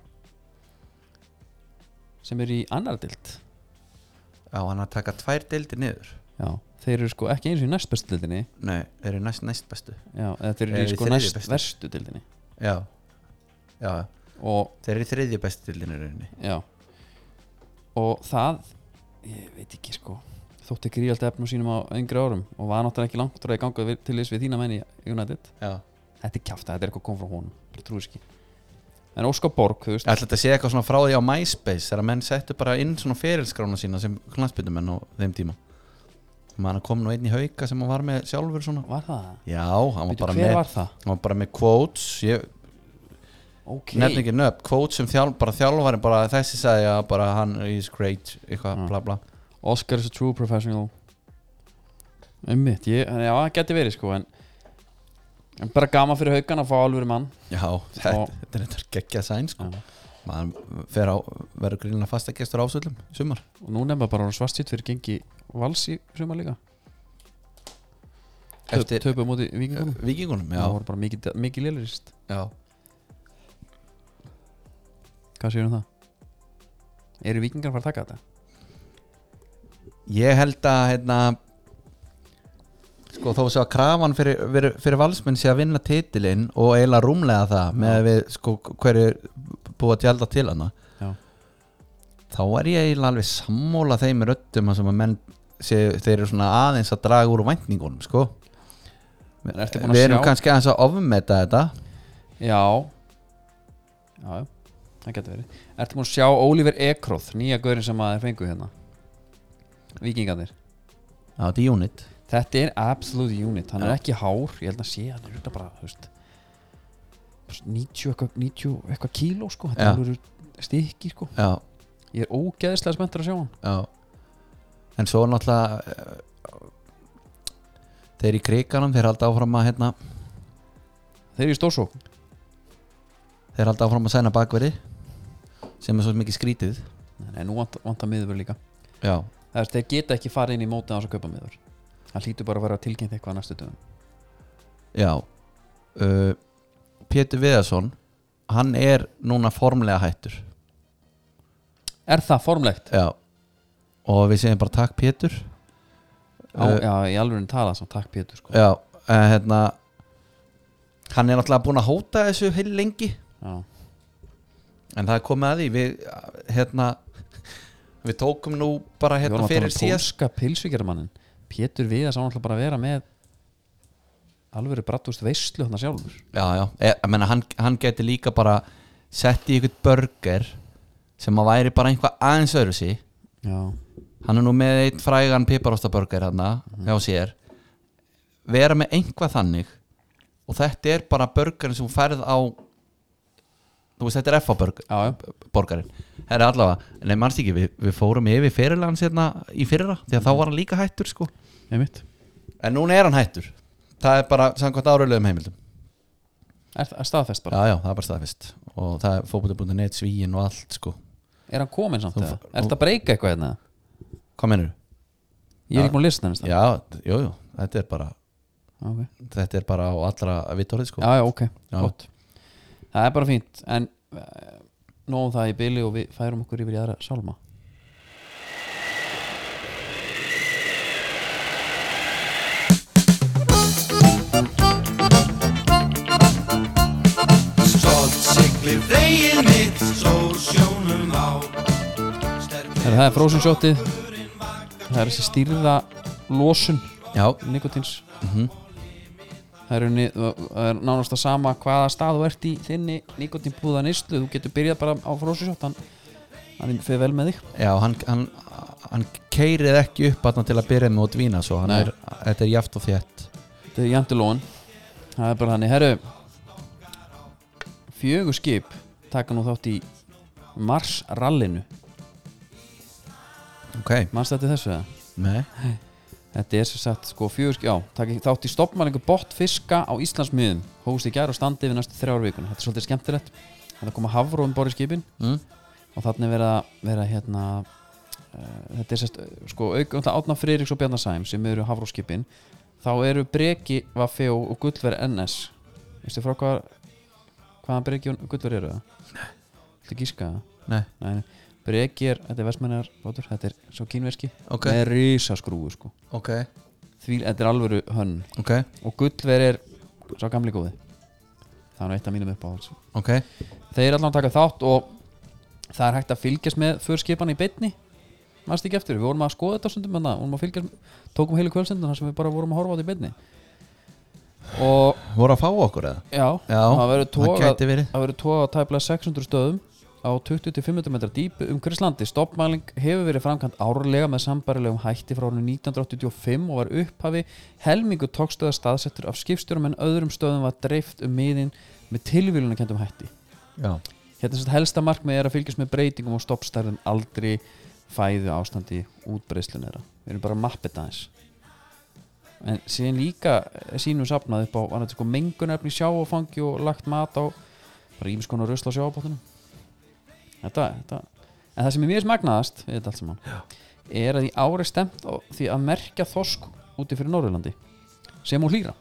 Speaker 1: sem er í annar deild
Speaker 2: já, hann að taka tvær deildir niður
Speaker 1: já, þeir eru sko ekki eins og í næst bestu deildinni
Speaker 2: nei, þeir eru næst, næst bestu
Speaker 1: já, eða þeir eru
Speaker 2: Eru
Speaker 1: í
Speaker 2: í
Speaker 1: sko
Speaker 2: þriðju
Speaker 1: næst
Speaker 2: bestu.
Speaker 1: verstu deildinni
Speaker 2: já, já
Speaker 1: og,
Speaker 2: Þeir eru í þriðja bestu dildinu rauninni
Speaker 1: já og það, ég veit ekki sko þótti gríðalt efnum sínum á yngri árum og var náttúrulega ekki langt að ganga við- til þess við þína menn í United
Speaker 2: Já
Speaker 1: þetta er kjáft, þetta er eitthvað kom frá honum bara trúið ekki en Óskar Borg, þú veist,
Speaker 2: Ég ætla þetta að segja eitthvað svona frá því á MySpace þegar að menn settu bara inn svona ferilskrána sína sem knastbyndumenn á þeim tíma Man kom nú einn í hauka sem hann var með sjálfur svona
Speaker 1: var það?
Speaker 2: Já, hann var
Speaker 1: Veitu,
Speaker 2: bara
Speaker 1: hver
Speaker 2: með
Speaker 1: var það?
Speaker 2: Hann var bara með quotes ég,
Speaker 1: ok,
Speaker 2: Nefn ekki nöfn, quotes sem þjálf, bara þjálfari bara þessi sagði að bara hann is great eitthvað,
Speaker 1: Já.
Speaker 2: bla bla
Speaker 1: Oscar is a true professional Einmitt, ég, já, það geti verið sko en, en bara gaman fyrir haugan að fá alvöru mann Sko,
Speaker 2: Já, þetta,
Speaker 1: Og-
Speaker 2: þetta er þetta geggja sæn sko
Speaker 1: Já.
Speaker 2: Maður fer á, verður grínlega fasta gestur ásöldum sumar
Speaker 1: og nú nefna bara svartsýtt fyrir gengi vals í suma líka
Speaker 2: Eftir-
Speaker 1: Eftir, töpu móti vikingunum
Speaker 2: Víkingunum,
Speaker 1: það
Speaker 2: já,
Speaker 1: voru bara mikið, mikið lélirist
Speaker 2: já.
Speaker 1: hvað séu um það? eru vikingar að fara að taka þetta?
Speaker 2: Ég held að hérna, sko, þó svo að krafan fyrir, fyrir, fyrir valsmenn sé að vinna titilinn og eiginlega rúmlega það með að við sko, hverju er búið að tjálta til hana
Speaker 1: Já.
Speaker 2: þá er ég eiginlega alveg sammóla þeim röddum að sem að menn sé, þeir eru svona aðeins að draga úr væntingunum sko.
Speaker 1: En ertu búin að
Speaker 2: við erum
Speaker 1: sjá-
Speaker 2: kannski aðeins að ofmeta þetta
Speaker 1: já já, já, það geti verið ertu múin að sjá Oliver Ekroth nýja gaurin sem að þeir fengu hérna vikingarnir
Speaker 2: á þetta er unit
Speaker 1: Þetta er absolute unit, hann er
Speaker 2: Já.
Speaker 1: ekki hár ég held að sé, hann er auðvitað bara þú veist, bara svona 90 eitthvað 90 eitthvað kíló sko,
Speaker 2: Já.
Speaker 1: þetta eru stikki sko,
Speaker 2: já,
Speaker 1: ég er ógeðislega spenntur að sjá hann
Speaker 2: já. en svo náttúrulega eh, þeir í kriganum þeir halda áfram að hérna,
Speaker 1: Þeir eru í stórsók,
Speaker 2: Þeir halda áfram að sæna bakverði sem er svo mikið skrítið
Speaker 1: en nú vant- vantar miður líka,
Speaker 2: Já,
Speaker 1: það er þeir geta ekki farið inn í mótið á þess að kaupa miður hann hlýtur bara að vera tilkynnt eitthvað á næstu dögum
Speaker 2: já uh, Pétur Viðarsson hann er núna formlega hættur
Speaker 1: Er það formlegt?
Speaker 2: Já og við segjum bara takk Pétur
Speaker 1: Á,
Speaker 2: Uh,
Speaker 1: já, í alveg tala samt, takk Pétur sko.
Speaker 2: Já, uh, hérna hann er náttúrulega búin að hóta þessu heil lengi
Speaker 1: já.
Speaker 2: en það er komið að því við hérna við tókum nú bara
Speaker 1: Við vorum að tala
Speaker 2: hérna
Speaker 1: um
Speaker 2: fyrir síðast
Speaker 1: pólska pilsvíkjaramannin Pétur Viðars á náttúrulega bara að vera með alveg brattúst veistlu hann sjálfur
Speaker 2: Já, já, ég, ég meina hann, hann geti líka bara sett í ykkur burger sem að væri bara einhvað aðeins öðru sí
Speaker 1: Já,
Speaker 2: hann er nú með eitt frægan piparostaburger hann hjá sér vera með einhvað þannig og þetta er bara burgerin sem þú færð á þú veist, þetta er FA burger
Speaker 1: já, já.
Speaker 2: borgarinn, það er allavega nei, mannst ekki, við, við fórum yfir fyrirlegans hérna í fyrra, því að þá var hann líka hættur sko.
Speaker 1: Einmitt.
Speaker 2: en núna er hann hættur það er bara samkvæmt árauglegum heimildum
Speaker 1: Er það staðfest bara?
Speaker 2: Já, já, það er bara staðfest og það er fótbolti.net, svíin og allt sko.
Speaker 1: Er hann kominn samt
Speaker 2: Þú-
Speaker 1: eða? Er þetta að breyka eitthvað hérna?
Speaker 2: Hvað menur þú?
Speaker 1: Ég er
Speaker 2: Já.
Speaker 1: ekki múin að lista henni
Speaker 2: Já, jú, jú, þetta er bara
Speaker 1: okay.
Speaker 2: þetta er bara á allra vittorið sko.
Speaker 1: Já, já, ok,
Speaker 2: Já.
Speaker 1: gott eh, um Það er bara fínt En uh, nóðum það í byli og við færum okkur yfir í aðra salma
Speaker 4: Yfir vegið mitt sól sjónum á
Speaker 1: Heru, það er frozen shotið það er þessi stýrða losun
Speaker 2: Já,
Speaker 1: nikotins
Speaker 2: Mhm.
Speaker 1: það, er, unni- það er nánast að sama hvaða stað þú ert í þinni nikotinbúða neyslu þú getur byrjað bara á frozen shot hann, hann fyrir vel með þig
Speaker 2: já hann, hann, hann keirið ekki upp hann til að byrja með að dvína svo hann
Speaker 1: Nei.
Speaker 2: er, Þetta er jaft og þétt
Speaker 1: þetta er jantilóan það er bara þannig, herru fjögur skip taka nú þátt í marsrallinu
Speaker 2: Ok,
Speaker 1: mannst þetta þessu eða?
Speaker 2: nei
Speaker 1: Þetta er sem sagt sko fjögur skip, já, takk þátt í stoppmælingu botfiska á Íslandsmiðum hófust í gær og standi við næstu þrjár vikuna Þetta er svolítið skemmtilegt, þannig að koma hafró um borði skipin
Speaker 2: mm.
Speaker 1: og þannig vera, vera hérna uh, þetta er sérst, eh, sko auk átna Friðriks og Bjarnasæm sem eru hafróskipin þá eru Breki, Vaffi og, og Gullver NS veistu frá hvað hvaðan Breki og Gullver eru það? Nei Þetta gíska það?
Speaker 2: Nei.
Speaker 1: Nei, nei. Breki er, þetta er vestmennar bátur, þetta er svo kínverski
Speaker 2: Ok.
Speaker 1: með risaskrúu sko
Speaker 2: Ok,
Speaker 1: því þetta er alvöru hönn
Speaker 2: ok,
Speaker 1: og Gullver er svo gamli góði það er nú eitt af mínum uppáhalds
Speaker 2: ok
Speaker 1: þeir allan taka þátt og það er hægt að fylgjast með förskipan í beinni maður ekki eftir, við vorum að skoða þetta stundum en það, vorum að fylgjast, tókum heilu kvöldsendun þar sem við bara vorum að horfa á þetta í beinni og
Speaker 2: Voru að fá okkur eða?
Speaker 1: já,
Speaker 2: Já,
Speaker 1: það verður tóga
Speaker 2: gæti verið
Speaker 1: það verður tóga tæplega 600 stöðum á 20-500 metra dýpu um Krislandi stoppmæling hefur verið framkvæmt árlega með sambarilegum hætti frá árinu 1985 og var upphafi helmingu tókstöða staðsettur af skipstjórum en öðrum stöðum var dreift um miðin með tilvílunarkendum hætti
Speaker 2: Já,
Speaker 1: Hérna sem sagt helsta markmið er að fylgjast með breytingum og stoppstærðum aldri, fæðu, ástandi, útbreyslun þeirra. Við erum bara að mappa þetta aðeins. En síðan líka er sínum safnað upp á var þetta sko, mengunefni í sjáfangi og lagt mat á bara ímis konar rusla á sjáfabóttunum. Þetta, þetta. En það sem er mjög smagnaðast við þetta allt saman er að í ári stemt á því að merkja þosk úti fyrir Norðurlandi sem og hlýra.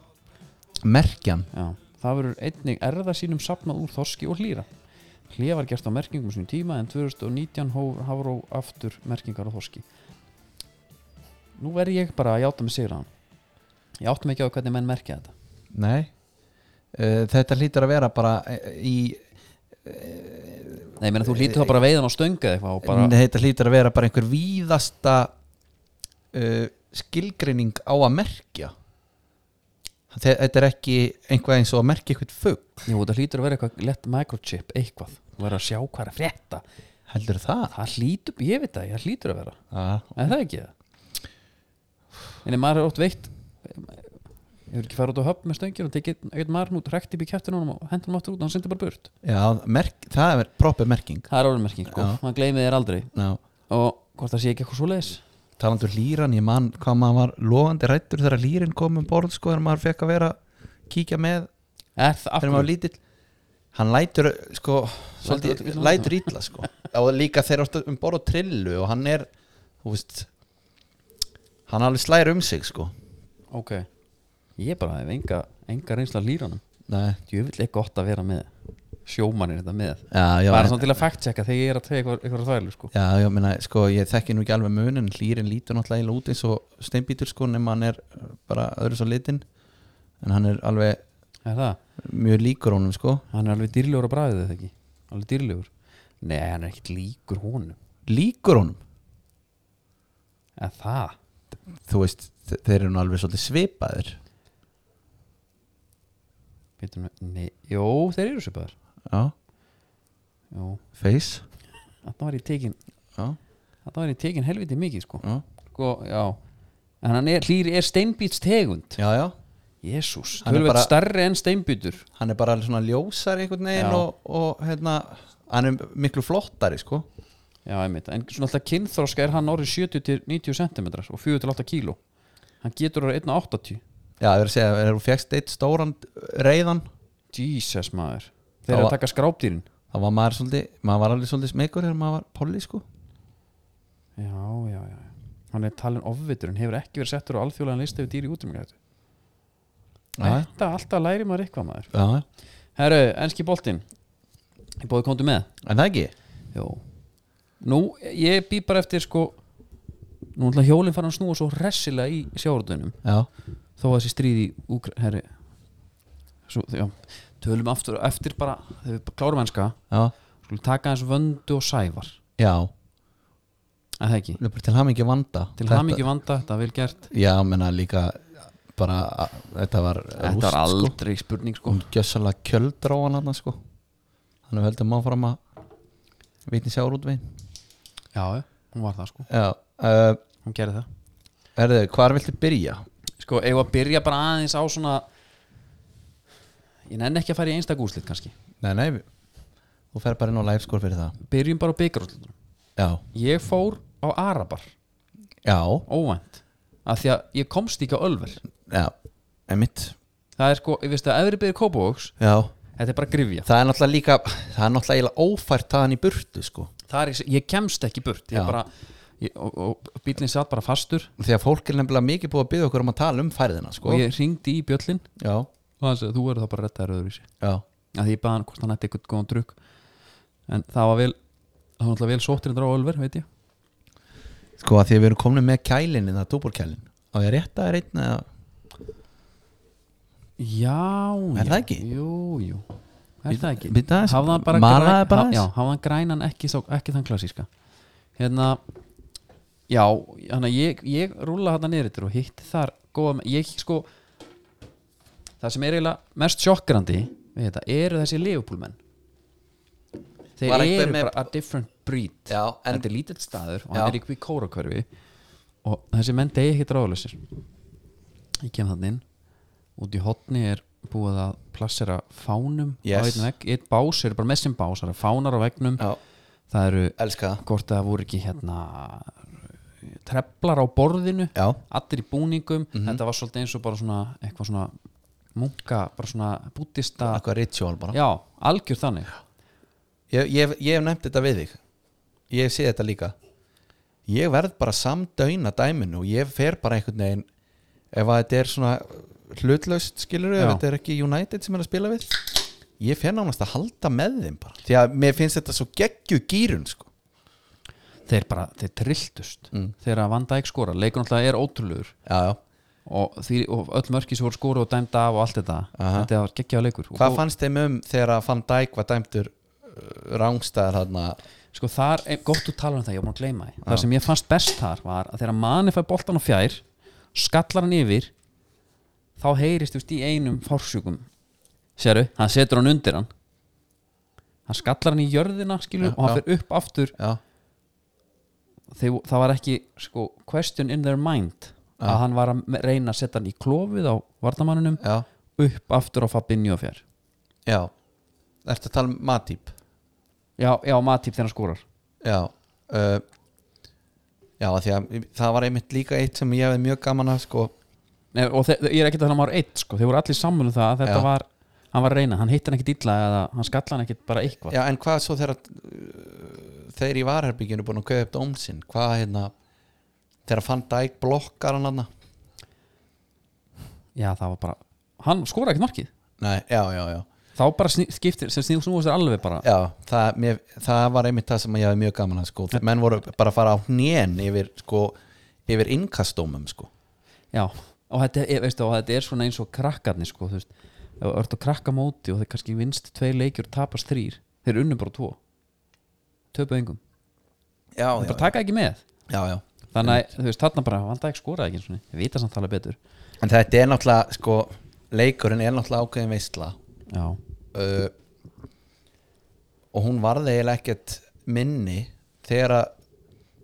Speaker 2: merkjan
Speaker 1: Já, það verður einnig erða sínum safnað úr þorski og hlýra. Hlýja var gert á merkingum á sínum tíma en 2019 hóf- hafur á aftur merkingar á þorski. Nú verð ég bara að játa mig sigra hann. Ég átti mig ekki á hvernig menn merkja þetta.
Speaker 2: Nei Eh, Þetta hlýtur að vera bara eh, í
Speaker 1: Nei, ég meina þú hlýtur þá bara veiðan á stöngu eða eitthvað og bara...
Speaker 2: Nei, þetta hlýtur að vera bara einhver víðasta uh, skilgreining á að merkja Þe- þetta er ekki einhvað eins og að merkja eitthvað fugg
Speaker 1: Jú, það hlýtur að vera eitthvað lett microchip, eitthvað. Þú verður að sjá hvað er að frétta.
Speaker 2: heldur það?
Speaker 1: Það hlýtur, ég veit það, það hlýtur að vera.
Speaker 2: Ah.
Speaker 1: Er það ekki það? En ef maður er oft veitt Ég vil ekki fara út á höfn með stöngjur og tekið eitthvað maður út, rekt upp í kjæftunum og hendur hann aftur út og hann sendir bara burt
Speaker 2: Já, merk, það er proper merking
Speaker 1: Það er orðmerking, sko,
Speaker 2: Já.
Speaker 1: hann gleymið þér aldrei
Speaker 2: Ná,
Speaker 1: og hvort það sé ekki eitthvað svo leiðis
Speaker 2: talandur líran, ég man hvað maður var logandi rættur þegar lírin kom um borð sko, þegar maður fekk að vera kíkja með
Speaker 1: Er það
Speaker 2: þegar maður var
Speaker 1: aftur?
Speaker 2: lítill hann lætur sko
Speaker 1: Lætur
Speaker 2: svolítið,
Speaker 1: öll illa.
Speaker 2: lætur ítla sko og líka þeir eru um borð og trillu og hann er þú veist hann alveg slæri um sig sko
Speaker 1: Ok, ég bara hef enga, enga reynsla af lýranum
Speaker 2: Nei.
Speaker 1: Djöfull er gott að vera með sjómanir þetta með
Speaker 2: já, já,
Speaker 1: Bara
Speaker 2: en-
Speaker 1: svona til að fact-checka þegar ég er að tegja eitthvað, eitthvað þvælu, sko
Speaker 2: já, já, meina, sko ég þekki nú ekki alveg munin hlýrin lítur náttúrulega eiginlega út eins og steinbítur sko nema hann er bara öðru svo litinn en hann er alveg
Speaker 1: Er það?
Speaker 2: mjög líkur honum sko
Speaker 1: Hann er alveg dýrlegur að bræðið þetta ekki Alveg dýrlegur Nei, hann er ekkit líkur honum
Speaker 2: líkur honum,
Speaker 1: Er það?
Speaker 2: þú veist þe- þeir eru nú alveg svolítið svipaðir
Speaker 1: Bíddu nú, Nei, jó, þeir eru svipaðar
Speaker 2: já,
Speaker 1: Jó,
Speaker 2: face
Speaker 1: þarna var ég tekin
Speaker 2: já,
Speaker 1: Þarna var ég tekin helviti mikið sko
Speaker 2: já,
Speaker 1: Sko, já En hann er, hlýr er steinbýts tegund
Speaker 2: já, já.
Speaker 1: Jésús,
Speaker 2: Hann er
Speaker 1: tölvöld
Speaker 2: bara-
Speaker 1: starri en steinbýtur
Speaker 2: hann er bara alveg svona ljósar einhvern
Speaker 1: Já.
Speaker 2: veginn og, og hérna, hann er miklu flottari sko
Speaker 1: Já, einmitt, en svona alltaf kynþróska er hann orðið 70-90 cm og 4-8 kíló Hann getur orðið 1-80
Speaker 2: já, ég verið að segja, er þú fjækst eitt stóran reiðan,
Speaker 1: Jesus maður Þeir eru
Speaker 2: var-
Speaker 1: að taka skrápdýrin
Speaker 2: þá var maður svolítið maður var alveg svolítið smekur þegar maður var polli sko
Speaker 1: Já, já, já Hann er talin ofvitur en hefur ekki verið settur á alþjóðlegan listi yfir dýri útrymmingar
Speaker 2: já,
Speaker 1: Þetta alltaf læri maður eitthvað maður
Speaker 2: já,
Speaker 1: Herru, enski boltinn Ég bóði komdu með
Speaker 2: en það ekki
Speaker 1: Jó Nú, ég bý bara eftir sko Nú ætla hjólinn fara að snúa svo hressilega í sjáurðunum
Speaker 2: já,
Speaker 1: Þó að þessi stríði úkra... Herri svo, Já tölum aftur eftir bara þegar við klárum henska
Speaker 2: já,
Speaker 1: skulum taka aðeins vöndu og sævar
Speaker 2: já
Speaker 1: en það ekki,
Speaker 2: Nú bara til hamingju vanda
Speaker 1: til
Speaker 2: Þetta-
Speaker 1: hamingi vanda þetta er vel gert
Speaker 2: já, menna líka bara, a- þetta var sko.
Speaker 1: þetta var aldrei spurning sko
Speaker 2: hún gjössalega kjöldráan hann sko þannig við höldum áfram að vitni sjáur út veginn
Speaker 1: já, já, hún var það sko,
Speaker 2: já, uh,
Speaker 1: hún gerði það
Speaker 2: erðu, hvar viltu byrja?
Speaker 1: sko, eigum við að byrja bara aðeins á svona ég nenni ekki að fara í einstak úrslit kannski
Speaker 2: nei, nei, við- þú fer bara inn á live score fyrir það
Speaker 1: byrjum bara á byggarúrslitunum
Speaker 2: já,
Speaker 1: ég fór á Arabar,
Speaker 2: já,
Speaker 1: óvænt af því að ég komst ekki á Ölver
Speaker 2: já emitt,
Speaker 1: það er sko, ég veist að efri byrði Kópavóks
Speaker 2: já
Speaker 1: þetta er bara grifja,
Speaker 2: það er náttúrulega líka, það er náttúrulega eiginlega ófært þaðan í burtu sko
Speaker 1: það er, ég kemst ekki burt ég
Speaker 2: Já.
Speaker 1: bara, ég, og, og bílinn satt bara fastur
Speaker 2: því að fólk er nefnilega mikið búið að byggja okkur um að tala um færðina sko
Speaker 1: og ég ringdi í bjöllin
Speaker 2: já,
Speaker 1: og hann sagði, þú verður þá bara rettaður öðruvísi
Speaker 2: já,
Speaker 1: að því ég baði hann hvort hann ætti eitthvað góðan drukk en það var vel það var náttúrulega vel sóttirinn drá Ölver, veit ég
Speaker 2: sko að því að við erum komin með kælinni, það er dúbúrkælin og ég rétt að er einn eða
Speaker 1: já,
Speaker 2: Er
Speaker 1: já.
Speaker 2: það ekki?
Speaker 1: jú, jú, er það ekki
Speaker 2: Bíddu aðeins,
Speaker 1: hafði hann bara
Speaker 2: malaði bara aðeins?
Speaker 1: já, hafði hann grænan ekki, sá, ekki þann klassíska hérna já, hann að ég, ég rúla hann niður yfir og hitti þar góða, menn. ég sko það sem er eiginlega mest sjokkrandi við þetta, eru þessi leifupúlmenn þeir
Speaker 2: Var einhver
Speaker 1: eru
Speaker 2: með-
Speaker 1: bara a different breed
Speaker 2: Já, en-
Speaker 1: þetta er lítill staður og
Speaker 2: Já.
Speaker 1: hann er ykkur í kórakörfi og þessi menn degi ekki dráðlösir ég kem þannig inn út í hotni er búið að plassera fánum á
Speaker 2: Yes.
Speaker 1: einn vegg, einn bás er bara með sem bás, það eru fánar á veggnum
Speaker 2: já,
Speaker 1: það eru,
Speaker 2: elska það
Speaker 1: hvort það voru ekki hérna treflar á borðinu
Speaker 2: Já. Mhm.
Speaker 1: allir í búningum þetta var svolítið eins og bara svona eitthvað svona munka, bara svona bútista
Speaker 2: eitthvað ritual bara
Speaker 1: já, algjör þannig
Speaker 2: ég, ég, hef- ég hef nefnt þetta við þig ég sé þetta líka ég verð bara samdöina dæminu og ég fer bara einhvern veginn ef að þetta er svona hlutlaust skilur ef
Speaker 1: Já.
Speaker 2: þetta er ekki United sem er að spila við ég fer nánast að halda með þeim bara því að mér finnst þetta svo geggju gýrun sko.
Speaker 1: þeir bara, þeir trilltust
Speaker 2: Mm.
Speaker 1: þegar að vanda ekki skora, leikur náttúrulega er ótrúlegur
Speaker 2: já, já.
Speaker 1: og, því, og öll mörki sem voru skora og dæmd af og allt þetta,
Speaker 2: Aha.
Speaker 1: þetta var geggjað leikur Og
Speaker 2: hvað
Speaker 1: þó-
Speaker 2: fannst þeim um þegar að Van Dijk var dæmdur uh, rángstæðar þarna
Speaker 1: sko þar, er gott þú tala um það, ég var búin að gleyma því það sem ég fannst best þar var að þegar manni fær boltan á fjær skallar hann yfir þá heyrist þú veist í einum fórsjúkum sérðu, hann setur hann undir hann hann skallar hann í jörðina skilur og hann
Speaker 2: já.
Speaker 1: fer upp aftur
Speaker 2: já,
Speaker 1: þegar, það var ekki sko question in their mind
Speaker 2: Ah.
Speaker 1: að hann var að reyna að setja hann í klófið á vartamanninum
Speaker 2: já,
Speaker 1: upp aftur á Fabinho fjær
Speaker 2: já ertu að tala um Matip
Speaker 1: já, já, Matip þegar hann skórar
Speaker 2: Já uh, Já, af því að það var einmitt líka eitt sem ég hefði mjög gaman að sko
Speaker 1: Nei, og þe- ég er ekki að tala um ár 1 sko, þeir voru allir saman um það að þetta
Speaker 2: Já.
Speaker 1: var hann var að reyna, hann hitt hann ekkit illa eða hann skalla hann ekkit bara eitthvað
Speaker 2: Já, en hvað svo þegar uh, þeir í varherbygginu búin að köða upp dómsinn hvað hérna þegar fann dæk blokkar hann hann
Speaker 1: já það var bara, hann skora ekkit markið
Speaker 2: Nei, já, já, já
Speaker 1: þá bara sný- skiptir, sem snýðum snúast þér alveg bara
Speaker 2: Já, það, mér, það var einmitt það sem ég hefði mjög gaman að sko Þeir menn voru bara að fara á hnén yfir sko yfir innkastómum sko
Speaker 1: já, og þetta er, veistu, og þetta er svona eins og krakkarnir sko, þú veist ef þú ert að krakka móti og þeir kannski vinst tvei leikjur og tapast þrýr, þeir unnu bara tvo töpu engum,
Speaker 2: Já,
Speaker 1: þeir
Speaker 2: já,
Speaker 1: bara taka ekki með
Speaker 2: já, já.
Speaker 1: þannig að, þú veist, þarna bara, hann dag skoraði ekki einu sinni. Þeir vita samt alveg betur
Speaker 2: En þetta er náttúrulega sko leikurinn er náttúrulega ákveðin veistla
Speaker 1: já,
Speaker 2: uh, og hún varði eiginlega ekkert minni þegar að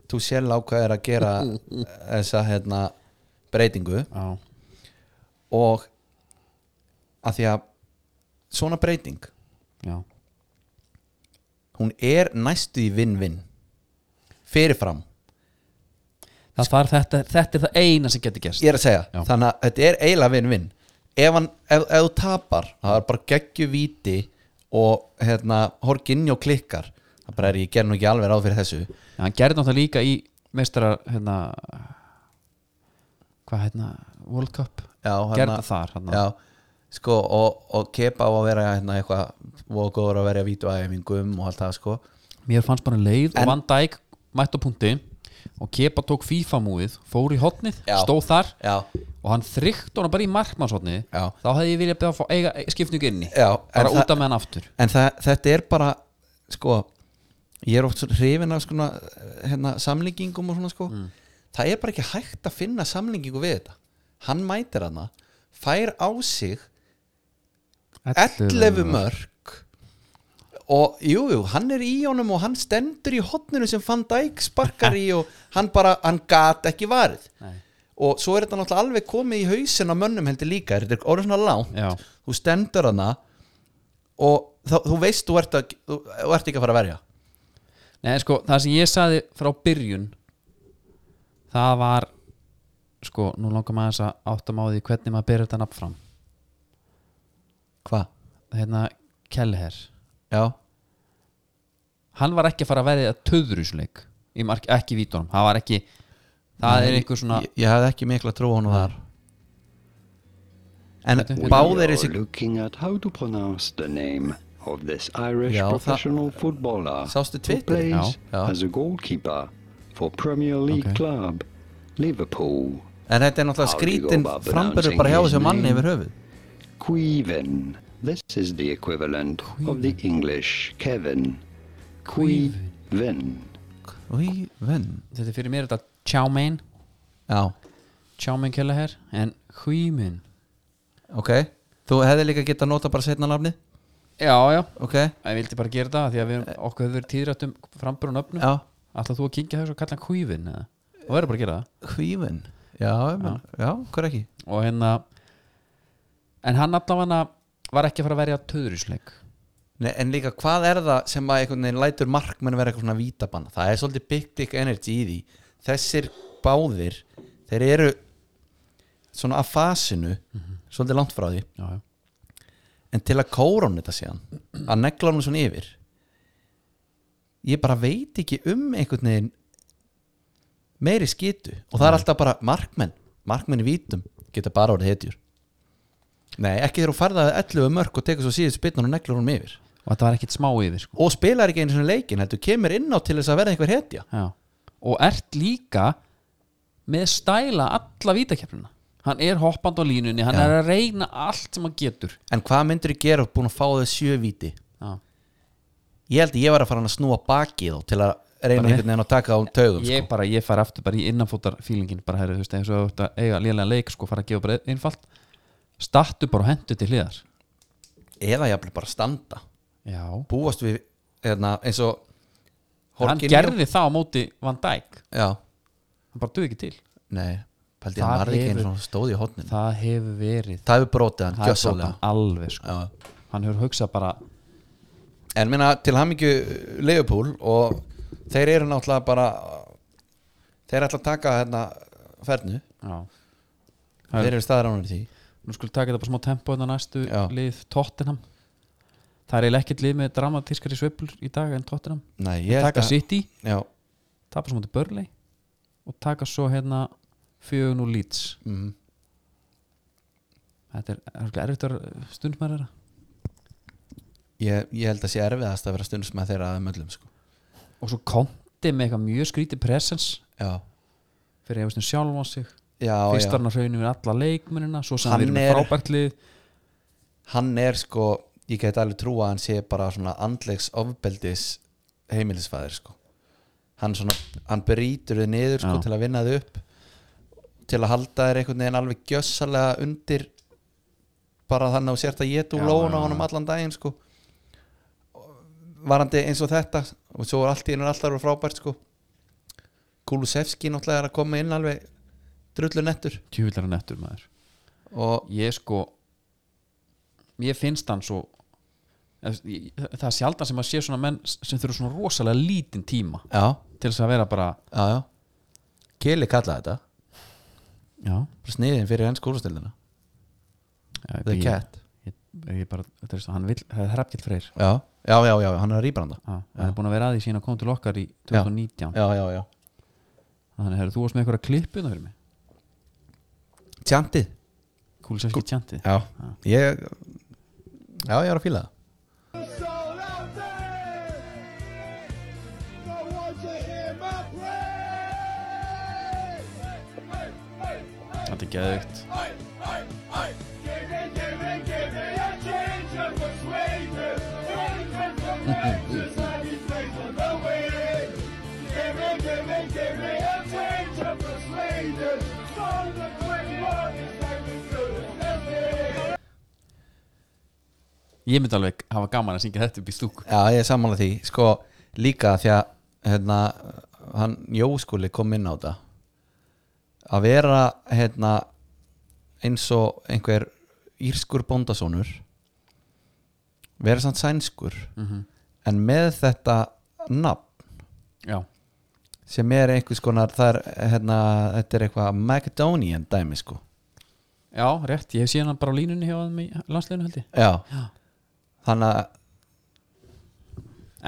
Speaker 2: þú sjálf ákveðir að gera þessa hérna, breytingu
Speaker 1: já,
Speaker 2: og að því að svona breyting
Speaker 1: já
Speaker 2: hún er næstu í vinn-vinn fyrirfram,
Speaker 1: það þarf þetta, þetta er það eina sem getur gerst
Speaker 2: ég er að segja
Speaker 1: Já.
Speaker 2: þannig að þetta er eiginlega vinn-vinn ef, hann, ef, ef þú tapar það er bara geggju víti og hérna, horginni og klikkar það bara er ég gerði nú ekki alveg ráð fyrir þessu
Speaker 1: Já, hann gerði náttúrulega líka í meistara hérna hvað hérna, World Cup
Speaker 2: já, hérna,
Speaker 1: gerði það þar hérna.
Speaker 2: já, sko, og, og kepa á að vera hérna, eitthvað og góður að vera vítuæfingum og allt það sko.
Speaker 1: mér fannst bara leið
Speaker 2: En-
Speaker 1: og Van Dijk mætt á punkti og Kepa tók FIFA múið fór í hotnið,
Speaker 2: Já.
Speaker 1: stóð þar
Speaker 2: já,
Speaker 1: og hann þrygt honum bara í markmannsotni
Speaker 2: Já.
Speaker 1: þá hefði ég viljað beða að fá eiga, eiga skipningu inni
Speaker 2: Já, en
Speaker 1: bara
Speaker 2: það-
Speaker 1: út af með hann aftur
Speaker 2: en það, þetta er bara sko ég er oft svo hrifin af skona, hérna, samlíkingum og svona sko
Speaker 1: Mm.
Speaker 2: það er bara ekki hægt að finna samlíkingu við þetta hann mætir hana fær á sig 11 mörg og jú, jú, hann er í honum og hann stendur í hotninu sem Van Dijk sparkar í og hann bara, hann gat ekki varð
Speaker 1: Nei.
Speaker 2: og svo er þetta náttúrulega alveg komið í hausin á mönnum heldur líka, þetta er orðið svona langt
Speaker 1: Já.
Speaker 2: þú stendur hana og þá, þú veist þú ert, að, þú, þú ert ekki að fara að verja
Speaker 1: Nei, en sko, það sem ég saði frá byrjun það var sko, nú langar maður þess að áttum á því hvernig maður byrja þetta nafn fram
Speaker 2: hvað?
Speaker 1: hérna, Kellher
Speaker 2: Já,
Speaker 1: hann var ekki að fara að verja töðrusleik í mark, ekki vítunum, það var ekki það er einhver svona
Speaker 2: ég, ég hafði ekki mikla trú á honum þar en
Speaker 1: Þetta-
Speaker 2: báðir
Speaker 5: We
Speaker 2: þessi
Speaker 5: are looking at how to pronounce the name of this Irish
Speaker 2: Já, það-
Speaker 5: professional footballer
Speaker 2: Sástu
Speaker 5: who
Speaker 2: Twitterið?
Speaker 5: plays
Speaker 2: Já.
Speaker 5: as a goalkeeper for Premier League
Speaker 1: Ok.
Speaker 5: club Liverpool.
Speaker 2: en þetta er náttúrulega
Speaker 5: How do you go
Speaker 2: skrítin
Speaker 5: about
Speaker 2: frambyrður
Speaker 5: pronouncing
Speaker 2: bara hjá
Speaker 5: his
Speaker 2: þessu manni
Speaker 5: name?
Speaker 2: yfir höfuð
Speaker 5: Queven. This is the equivalent of the English Kevin. Queven.
Speaker 2: Í, venn
Speaker 1: þetta er fyrir mér þetta Chowmain
Speaker 2: Já,
Speaker 1: Chowmain Kellher en Huimin
Speaker 2: ok Þú hefði líka getað að nota bara setna nafnið
Speaker 1: já, já, Eh.
Speaker 2: Ok,
Speaker 1: ég vildi bara gera það því að við, okkur hefur verið tíðrætt um frambyrjun öfnum
Speaker 2: já
Speaker 1: alltaf þú að kynkja þessu og kalla hann Huimin eða? og verður bara að gera það
Speaker 2: Hvífin Já, ég meina, já, hver ekki
Speaker 1: og hérna en hann allavega var ekki að fara að verja töðurísleik
Speaker 2: Nei, En líka, hvað er það sem að einhvern veginn lætur markmenn vera eitthvað svona vítabanna Það er svolítið big dick energy í því Þessir báðir Þeir eru svona af fasinu Svolítið langt frá því
Speaker 1: já, já.
Speaker 2: En til að kóra hún þetta síðan Að negla hún svona yfir Ég bara veit ekki um einhvern veginn Meiri skitu Og það er alltaf bara markmenn Markmenn í vítum geta bara orðið hetjur Nei, ekki þegar hún farðaði 11 mörg um og tekur svo síðust spytnun og neglar hún yfir
Speaker 1: og þetta var ekkit smá yfir sko.
Speaker 2: Og spilar ekki einu svona leikin Heldur kemur inn á til þess að verða einhver hetja
Speaker 1: já. og ert líka með stæla alla vítakefnina hann er hoppand á línunni hann
Speaker 2: Já.
Speaker 1: er að reyna allt sem hann getur
Speaker 2: En hvað myndir þú gera búin að fá þau sjö víti
Speaker 1: já.
Speaker 2: Ég held að ég var að fara að snúa baki þá Til að
Speaker 1: Bara-
Speaker 2: reyna einhvern veginn að taka á taugum
Speaker 1: ég
Speaker 2: sko.
Speaker 1: bara, ég fari aftur bara í innanfótar fílingin bara herri, þú veist, eins og þú ert að eiga lélega leik sko, fara að gefa bara einfalt startu bara og hendu til hliðar
Speaker 2: Eða jafnvel bara standa
Speaker 1: já,
Speaker 2: búast við hérna, eins og
Speaker 1: hann gerði það á móti Van Dijk,
Speaker 2: já,
Speaker 1: hann bara duði ekki til
Speaker 2: nei, pældi
Speaker 1: Það
Speaker 2: hann var ekki eins
Speaker 1: hefur-
Speaker 2: og stóð í hotnin
Speaker 1: það hefur verið
Speaker 2: það hefur brotið
Speaker 1: það
Speaker 2: hann,
Speaker 1: er svo
Speaker 2: gjössalega
Speaker 1: alveg sko.
Speaker 2: Já.
Speaker 1: hann hefur hugsað bara
Speaker 2: en minna til hamingju Leopold og þeir eru náttúrulega bara þeir ætla að taka hérna fernu,
Speaker 1: já.
Speaker 2: þeir eru staðar ánur í því
Speaker 1: nú skulum taka þetta bara smá tempo en það næstu
Speaker 2: Já.
Speaker 1: lið Tottenham það er eiginlega ekkert lið með dramatískari sveiflur í dag en Tottenham
Speaker 2: nei, ég held
Speaker 1: taka
Speaker 2: að-
Speaker 1: City,
Speaker 2: já,
Speaker 1: tapa svo mútið Burnley og taka svo hérna fjögun og Leeds
Speaker 2: mm,
Speaker 1: þetta er örugglega erfitt að stundmæra þeirra
Speaker 2: ég, ég held að sé erfiðast að vera stundsmæð þeirra að möllum sko.
Speaker 1: og svo konti með eitthvað mjög skrítið presence
Speaker 2: já,
Speaker 1: fyrir efastum sjálfan sig
Speaker 2: já, já
Speaker 1: fyrstarna hraunum við alla leikmennina svo sem
Speaker 2: Hann
Speaker 1: við erum með
Speaker 2: er-
Speaker 1: frábært lið
Speaker 2: hann er sko ég get alveg trúa að hann sé bara svona andlegs ofbeldis heimilisfæðir sko hann, svona, hann brýtur þið niður sko
Speaker 1: Já.
Speaker 2: til að vinna þið upp til að halda þér einhvern veginn alveg gjössalega undir bara þannig að þú sért að ég
Speaker 1: Já,
Speaker 2: þú lóna
Speaker 1: já,
Speaker 2: á honum allan daginn sko varandi eins og þetta og svo er allt í einu alltaf verið frábært sko Kulusevski náttúrulega er að koma inn alveg drullu nettur
Speaker 1: tjúvillara nettur maður
Speaker 2: og
Speaker 1: ég sko ég finnst hann svo ég- það er sjaldan sem að sé svona menn sem þurfa svona rosalega lítinn tíma
Speaker 2: já,
Speaker 1: til þess að vera bara
Speaker 2: já, já Kili kallaði þetta
Speaker 1: já,
Speaker 2: bara sniðin fyrir henn skólastildina
Speaker 1: ég,
Speaker 2: The Cat
Speaker 1: ég, ég bara, þetta er svo, hann vil, það er hrepptill freyr
Speaker 2: já, já, já, já, hann er að rýpa hann
Speaker 1: Já, hann er búin að vera að því síðan að koma til okkar í 2019
Speaker 2: já, já, já
Speaker 1: þannig að þú varst með eitthvað klippuna fyrir mig
Speaker 2: tjantið
Speaker 1: Kúlisevski tjantið
Speaker 2: já. ég já, ég er að fíla það
Speaker 1: þetta er geðvikt
Speaker 6: Give me a change of persuasion. From the quick market, take me to the city.
Speaker 1: Ég myndi alveg hafa gaman að syngja þetta upp í stúku
Speaker 2: Já, ég er sammála því Sko, líka því að hérna, hann Jóskúli kom inn á þetta að vera hérna, eins og einhver írskur bóndasónur vera samt sænskur en með þetta nafn
Speaker 1: Já,
Speaker 2: sem er einhvers konar þar, hérna, þetta er eitthvað Macedonian dæmi sko
Speaker 1: já, rétt, ég hef síðan hann bara á línunni hjá þeim í landsleginu held ég
Speaker 2: Já,
Speaker 1: Já.
Speaker 2: þannig að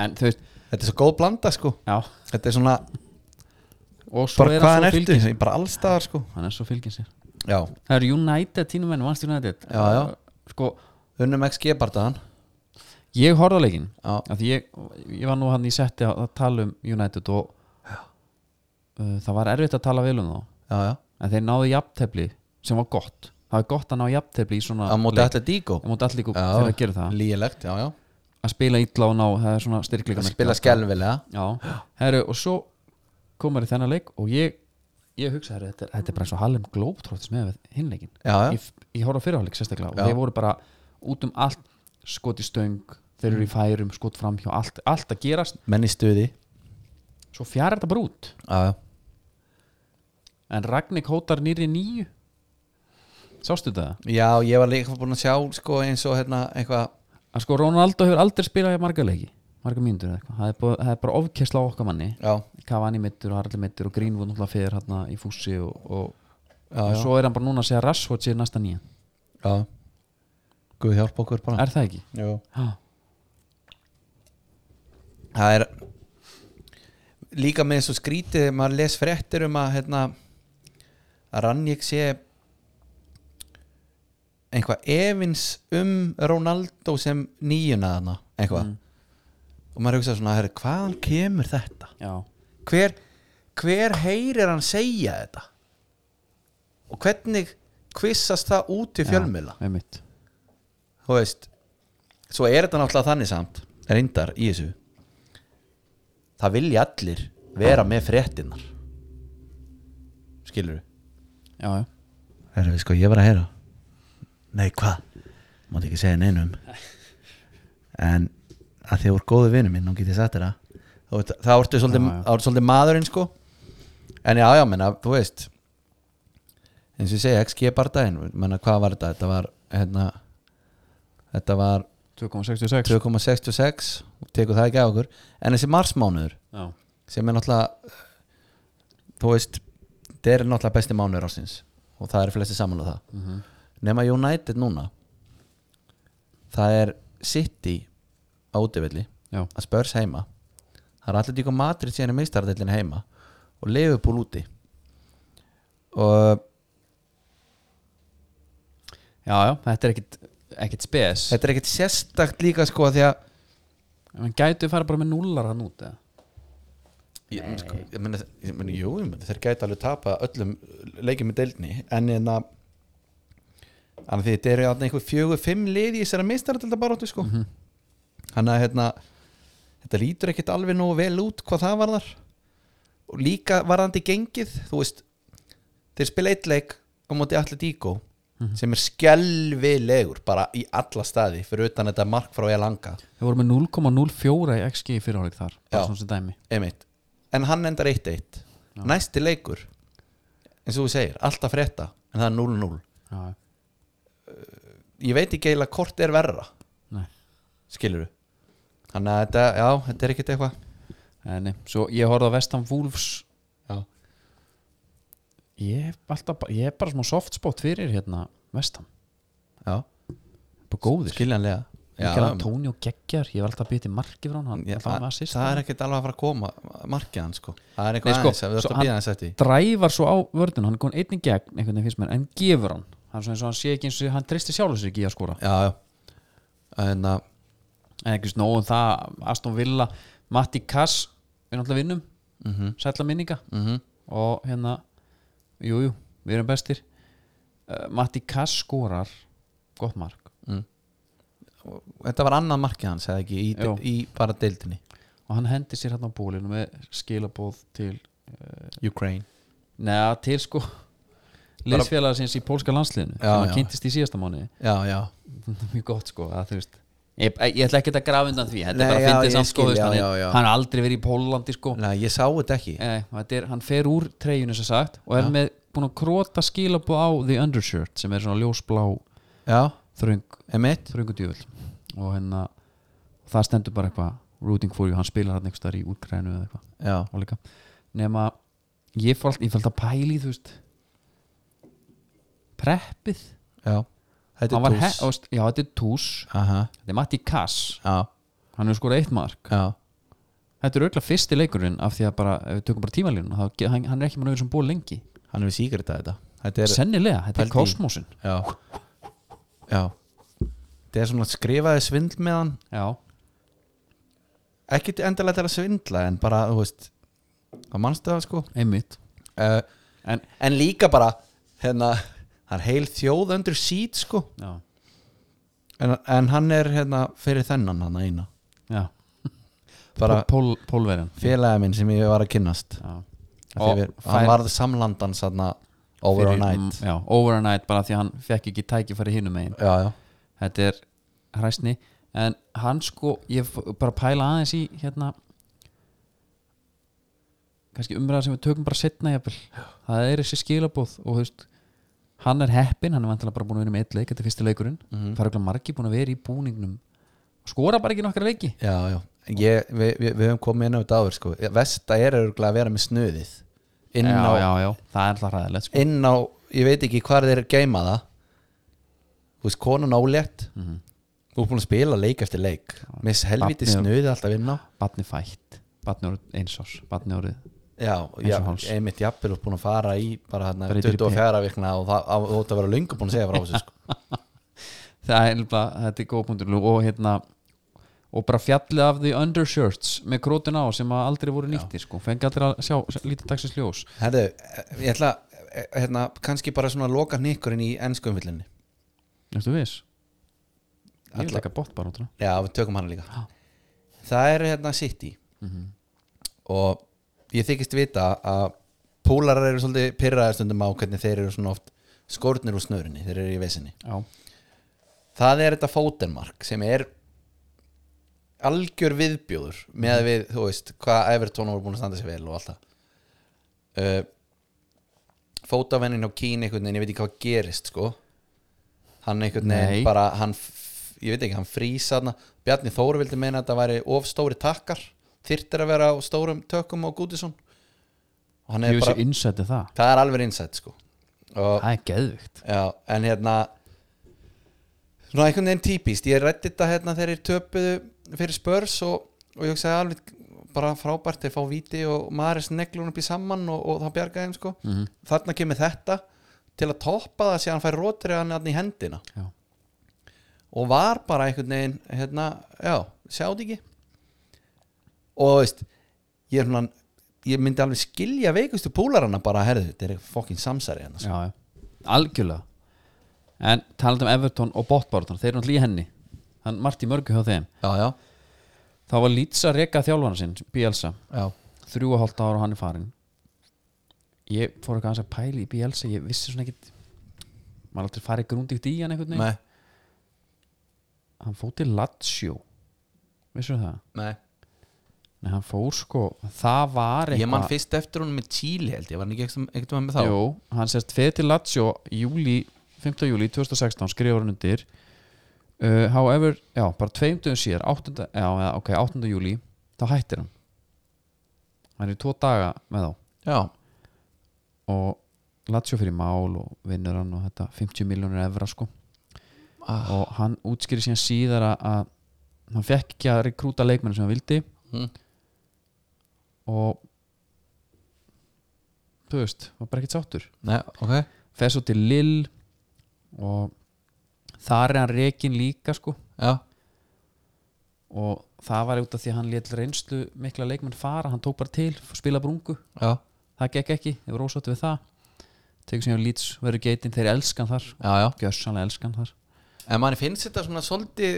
Speaker 1: En þú veist,
Speaker 2: þetta er svo góð blanda sko
Speaker 1: já
Speaker 2: þetta er svona,
Speaker 1: Og svo
Speaker 2: bara
Speaker 1: er hann
Speaker 2: hvaðan
Speaker 1: svo
Speaker 2: ertu
Speaker 1: fylgin
Speaker 2: Ég er bara allstaðar sko
Speaker 1: Hann er svo fylgin sér
Speaker 2: Já,
Speaker 1: Það eru United tínum menn, vannst United
Speaker 2: Já, já.
Speaker 1: Sko,
Speaker 2: unnum XG bardaðan
Speaker 1: ég horfði á leikinn
Speaker 2: Já.
Speaker 1: af því ég, ég var nú hann í setti að að tala um United og uh, það var erfitt að tala vel um þá
Speaker 2: já, já.
Speaker 1: en þeir náðu jafntefli sem var gott það er gott að ná jafntefli í svona
Speaker 2: á móti allir díkó
Speaker 1: að móti allir þegar að gera það
Speaker 2: lýjilegt, já, já
Speaker 1: að spila illa og ná, það er svona styrkleika
Speaker 2: að spila skelvilega
Speaker 1: já, herru og svo komur í þennan leik og ég ég hugsa herru, þetta, er- þetta er bara eins og Hallum Glóbtróttis með hinleikin
Speaker 2: Já, já.
Speaker 1: ég, ég horf á fyrirháleik sérstaklega
Speaker 2: Já.
Speaker 1: og þeir voru bara út um allt skot í stöng, þeir eru í færum skot framhjá, allt, allt að gerast
Speaker 2: menn í stuði
Speaker 1: svo fjara þetta bara út
Speaker 2: já, já.
Speaker 1: en Ragnik hótar nýri nýju sástu þetta?
Speaker 2: já, ég var líka búin að sjá sko, eins og hérna eitthvað
Speaker 1: að sko Ronaldo hefur aldrei spilað í marga leiki marga mínútur eða eitthvað, það er bara, það er bara ofkessla á okkar manni,
Speaker 2: já,
Speaker 1: Cavani mittur og Harli mittur og Greenwood náttúrulega fyrir hérna í fússi og, og,
Speaker 2: já,
Speaker 1: og
Speaker 2: já,
Speaker 1: svo er hann bara núna að segja Rashford sér næsta nýja,
Speaker 2: já. Guð hjálpa okkur bara
Speaker 1: er það ekki?
Speaker 2: já.
Speaker 1: Ha,
Speaker 2: það er líka með þessu skrítið maður les fréttir um að hérna, að Rannjökk sé einhvað efins um Ronaldo sem nýjuna þarna eitthvað og maður hugsa svona, herri, hvaðan kemur þetta
Speaker 1: já,
Speaker 2: hver, hver heyrir hann segja þetta og hvernig kvissast það út í fjölmiðla
Speaker 1: með mitt
Speaker 2: þú veist svo er þetta náttúrulega þannig samt reyndar í þessu það vilja allir vera með fréttinnar skilur
Speaker 1: já, já,
Speaker 2: Herra, við sko, ég var að heyra Nei, hvað? Mátti ekki segja neinum En að því að voru góðu vinur minn Nú get ég sagt þér það Þú veit, Það vortu svolítið,
Speaker 1: Já, já.
Speaker 2: já, svolítið maðurinn sko En já, já, menna, þú veist eins og ég segja, XG bardaginn menna, hvað var þetta? Þetta var, hérna Þetta var
Speaker 1: 2,66
Speaker 2: 2,66 og tekur það ekki af okkur En þessi marsmánuður
Speaker 1: já,
Speaker 2: sem er náttúrulega þú veist það er náttúrulega besti mánuður ásins og það er flesti saman á um það nema United núna það er City á útivilli
Speaker 1: já,
Speaker 2: að spörs heima það er allir tíka Madrid síðan í meistarðillin heima og Liverpool úti og
Speaker 1: já, já, þetta er ekkit ekkit spes,
Speaker 2: þetta er ekkert sérstakt líka sko því að
Speaker 1: en gætu fara bara með nullar hann út eða?
Speaker 2: ég, menn, sko, ég meni, ég meni, jú, ég meni, þeir gæti alveg tapa öllum leikjum í deildni en en að Þannig að því þetta eru þarna einhver fjögur, fimm lið í þessari meistardelda baróttu sko Þannig að hérna, þetta lítur ekkit alveg nógu vel út hvað það varðar og líka varðandi gengið þú veist, þeir spila eitt leik á móti allir díkó sem er skelvilegur bara í alla staði fyrir utan þetta mark frá ég langa
Speaker 1: þeir voru með 0,04 í XG í fyrirháleik þar bara
Speaker 2: Já.
Speaker 1: svona sem dæmi
Speaker 2: einmitt. en hann endar 1-1 næsti leikur eins og þú segir, alltaf frétta en það er 0-0
Speaker 1: já,
Speaker 2: ég veit ekki eiginlega hvort er verra
Speaker 1: nei
Speaker 2: skilur við þannig að þetta, já, þetta er ekkert eitthvað
Speaker 1: Nei, nei, svo ég horfði á Vestham Wolves
Speaker 2: Já.
Speaker 1: ég hef alltaf, bara- ég er bara smá softspot fyrir hérna Vestham,
Speaker 2: já,
Speaker 1: bara góðir
Speaker 2: skiljanlega
Speaker 1: Mikael Antonio Geggjar, ég var alltaf að byrja til marki frá hann, hann
Speaker 2: Já,
Speaker 1: það
Speaker 2: það,
Speaker 1: með assist
Speaker 2: það er ekkert alveg að fara að koma markið hann sko, það er
Speaker 1: Nei,
Speaker 2: eitthvað
Speaker 1: sko,
Speaker 2: aðeins að við
Speaker 1: svo
Speaker 2: þurfum að býða hans eftir því.
Speaker 1: drævar svo á vörðun, hann er komin einnig gegn einhvern veginn finnst mér, en gefur hann hann, er svona eins og hann sé ekki eins og hann treystir sjálfur sér ekki í að skora
Speaker 2: já, já en uh, að,
Speaker 1: en ekki snóðum það, Aston Villa Matti Kass, við náttúrulega vinnum mm
Speaker 2: Mhm.
Speaker 1: -hmm. sætla minninga -hmm. og hérna, jújú jú, við erum bestir uh, Matti Kass skorar gott mark
Speaker 2: þetta var annað markið hans eða ekki, í,
Speaker 1: Jú.
Speaker 2: í bara deildinni
Speaker 1: og hann hendi sér hérna á bólinu með skilabóð til uh,
Speaker 2: Ukraine
Speaker 1: neða til sko liðsfélagsins í pólska landsliðinu
Speaker 2: Já,
Speaker 1: sem að
Speaker 2: já.
Speaker 1: kynntist í síðasta mánu
Speaker 2: Já, já
Speaker 1: mjög gott sko að þú veist ég, ég ætla ekki að grafa undan því þetta
Speaker 2: Nei,
Speaker 1: er bara
Speaker 2: já,
Speaker 1: að fyndi
Speaker 2: ég
Speaker 1: samt sko þú
Speaker 2: skil,
Speaker 1: veist,
Speaker 2: já,
Speaker 1: hann er-
Speaker 2: já, já.
Speaker 1: hann er aldrei verið í Pólandi sko
Speaker 2: Nei, ég sá þetta ekki
Speaker 1: Eh, þetta er, hann fer úr treyjunu sem sagt og er með búin að króta skilabú á The Undershirt sem er svona ljósblá
Speaker 2: Já,
Speaker 1: þröng,
Speaker 2: emitt
Speaker 1: þröngudjöfull og hérna það stendur bara eitthvað rooting for you, hann spilar hann einhverstaðar í útgrænu eða eitthvað
Speaker 2: Já,
Speaker 1: og líka nema ég fór allt, ég fór alltaf pæli þú veist preppið
Speaker 2: já Þetta
Speaker 1: Hann var
Speaker 2: er
Speaker 1: he-
Speaker 2: tús
Speaker 1: og veist, já þetta er tús,
Speaker 2: Aha,
Speaker 1: þetta er Matti Kass
Speaker 2: já,
Speaker 1: hann hefur skorað eitt mark
Speaker 2: já
Speaker 1: þetta er auðvitað fyrsti leikurinn af því að bara, ef við tökum bara tímalínun hann, hann er ekki mann að vera sem búið lengi
Speaker 2: Hann er við sígrita þetta Þetta er,
Speaker 1: sennilega, þetta er
Speaker 2: Pældi í.
Speaker 1: kosmosin
Speaker 2: já Já Þetta er svona skrifaði svindl með hann
Speaker 1: já,
Speaker 2: Ekki endalega til að svindla en bara, þú veist Það manstu það sko
Speaker 1: einmitt
Speaker 2: uh,
Speaker 1: En-
Speaker 2: en, líka bara hérna, það er heil þjóð undir sít sko
Speaker 1: já,
Speaker 2: en, en hann er hérna fyrir þennan hann eina
Speaker 1: já.
Speaker 2: bara
Speaker 1: Pól, pólverjan
Speaker 2: félagi minn sem ég var að kynnast
Speaker 1: já.
Speaker 2: og, við, hann varð samlandans hérna over a
Speaker 1: fyrir-
Speaker 2: night
Speaker 1: mm, já, over a night bara því að hann fekk ekki tækifæri hinum megin
Speaker 2: já, já,
Speaker 1: þetta er hræsni en hann sko, ég f- bara pæla aðeins í hérna kannski umræða sem við tökum bara setna jafnvel, það er þessi skilabóð og þú veist, hann er heppin hann er vantilega bara búin að vera með eitt leik, þetta er fyrsti leikurinn
Speaker 2: Mhm.
Speaker 1: það er ekki margi búin að vera í búningnum skora bara ekki nokkra leiki
Speaker 2: já, já. Ég, við, við, við höfum komið inn á þetta áður sko Vesta er örgulega að vera með snuðið inn
Speaker 1: já,
Speaker 2: á,
Speaker 1: já, já, það er alltaf hræðilegt sko.
Speaker 2: inn á ég veit ekki hvar þeir geima það þú veist, konan álétt þú ert búin að spila leik eftir leik miss helviti
Speaker 1: Barnið-
Speaker 2: snuðið alltaf inn á
Speaker 1: batni fætt, batni orðið eins árs batni orðið,
Speaker 2: Já,
Speaker 1: Eins
Speaker 2: já
Speaker 1: og hálfs.
Speaker 2: einmitt jafnvel og búin að fara í bara hérna
Speaker 1: Bara í
Speaker 2: 24 vikna og það á- þú ætti að vera löngu búin að segja frá þessu sko.
Speaker 1: það er bara þetta er góð punktur og hérna og bara fjallið af því undershirts með krótun á sem að aldrei voru nýttir sko, fengi aldrei að sjá, sjá lítið dagsins ljós
Speaker 2: Herðu, ég ætla eh, hérna, kannski bara svona að loka hnykkurinn í ennsku umvillinni
Speaker 1: Ertu viss? Ég vil
Speaker 2: Alla-
Speaker 1: ekki bótt bara út það
Speaker 2: Já, við tökum hana líka Það er hérna City og ég þykist vita að púlarar eru svolítið pyrraðar stundum á hvernig þeir eru svona oft skórnir úr snörinni, þeir eru í vesinni
Speaker 1: Já,
Speaker 2: það er þetta fótenmark sem er algjör viðbjóður með að við, þú veist, hvað Evertón voru búin að standa sér vel og allt það uh, fótavennin á Kín einhvern veginn, ég veit ekki hvað gerist sko hann einhvern
Speaker 1: Nei.
Speaker 2: veginn bara hann, f- ég veit ekki, hann frýsa hann Bjarni Þóru vildi meina að þetta væri of stóri takkar þyrtir að vera á stórum tökum og Gútisson og hann
Speaker 1: ég
Speaker 2: er
Speaker 1: vissi
Speaker 2: bara,
Speaker 1: innsætti það
Speaker 2: það er alveg innsætt sko og
Speaker 1: Það er geðvikt
Speaker 2: Já, en hérna Svona einhvern veginn típist Ég rætti þetta hérna þegar ég töpuðu fyrir spörs og, og ég hugsaði alveg bara frábært þeir fá víti og maður er sneglun upp í saman og, og það bjargaði þeim sko Þarna kemur þetta til að toppa það síðan hann fær rótri hann í hendina
Speaker 1: Já.
Speaker 2: og var bara einhvern veginn hérna, já, sjáðu ekki og þú veist ég, er svona, ég myndi alveg skilja veikustu púlarana bara, herðu, þetta er fokkin samsari hérna, sko.
Speaker 1: Já, já, algjörlega En talandi um Everton og bóttbáratan Þeir eru náttúrulega í henni Hann Marti Mörgu hjá þeim
Speaker 2: já, já,
Speaker 1: Þá var Lítsa að reka þjálfana sinn, Bielsa
Speaker 2: já,
Speaker 1: Þrjú og hálft ára og hann er farin Ég fór eitthvað aðeins að pæli í Bielsa Ég vissi svona ekkit Maður aldrei farið grúndíkt í hann einhvern veginn
Speaker 2: nei
Speaker 1: Hann fór til Lazio Vissur það?
Speaker 2: Nei,
Speaker 1: Nei, hann fór sko Það var
Speaker 2: ég man fyrst eftir hún með Chile held ég, var hann ekki ekkert- ekkert með þá
Speaker 1: Jú, hann sérst fyrir til Lazio júli, 5. júli 2016 skrifur hann undir uh, however, já, bara tveimtugum síðar 8. Já, eða, ok, 8. júli þá hættir hann hann er í tvo daga með þá
Speaker 2: Já,
Speaker 1: og Lazio fyrir mál og vinnur hann og þetta 50 miljónur evra sko
Speaker 2: ah,
Speaker 1: og hann útskýri síðan síðar að, að hann fekk ekki að rekrúta leikmenn sem hann vildi
Speaker 2: Mm.
Speaker 1: og þú veist, var bara ekkert sáttur
Speaker 2: nei, ok
Speaker 1: fer svo til Lill og þar er hann rekin líka sko
Speaker 2: Já,
Speaker 1: og það var út af því að hann létt reynslu mikla leikmenn fara, hann tók bara til spila brungu,
Speaker 2: já,
Speaker 1: það gekk ekki ég var ósátt við það tekur sem ég lýts, verður geitin, þeir elskan þar
Speaker 2: já, já
Speaker 1: gjössanlega elskan þar
Speaker 2: En manni finnst þetta svona svolítið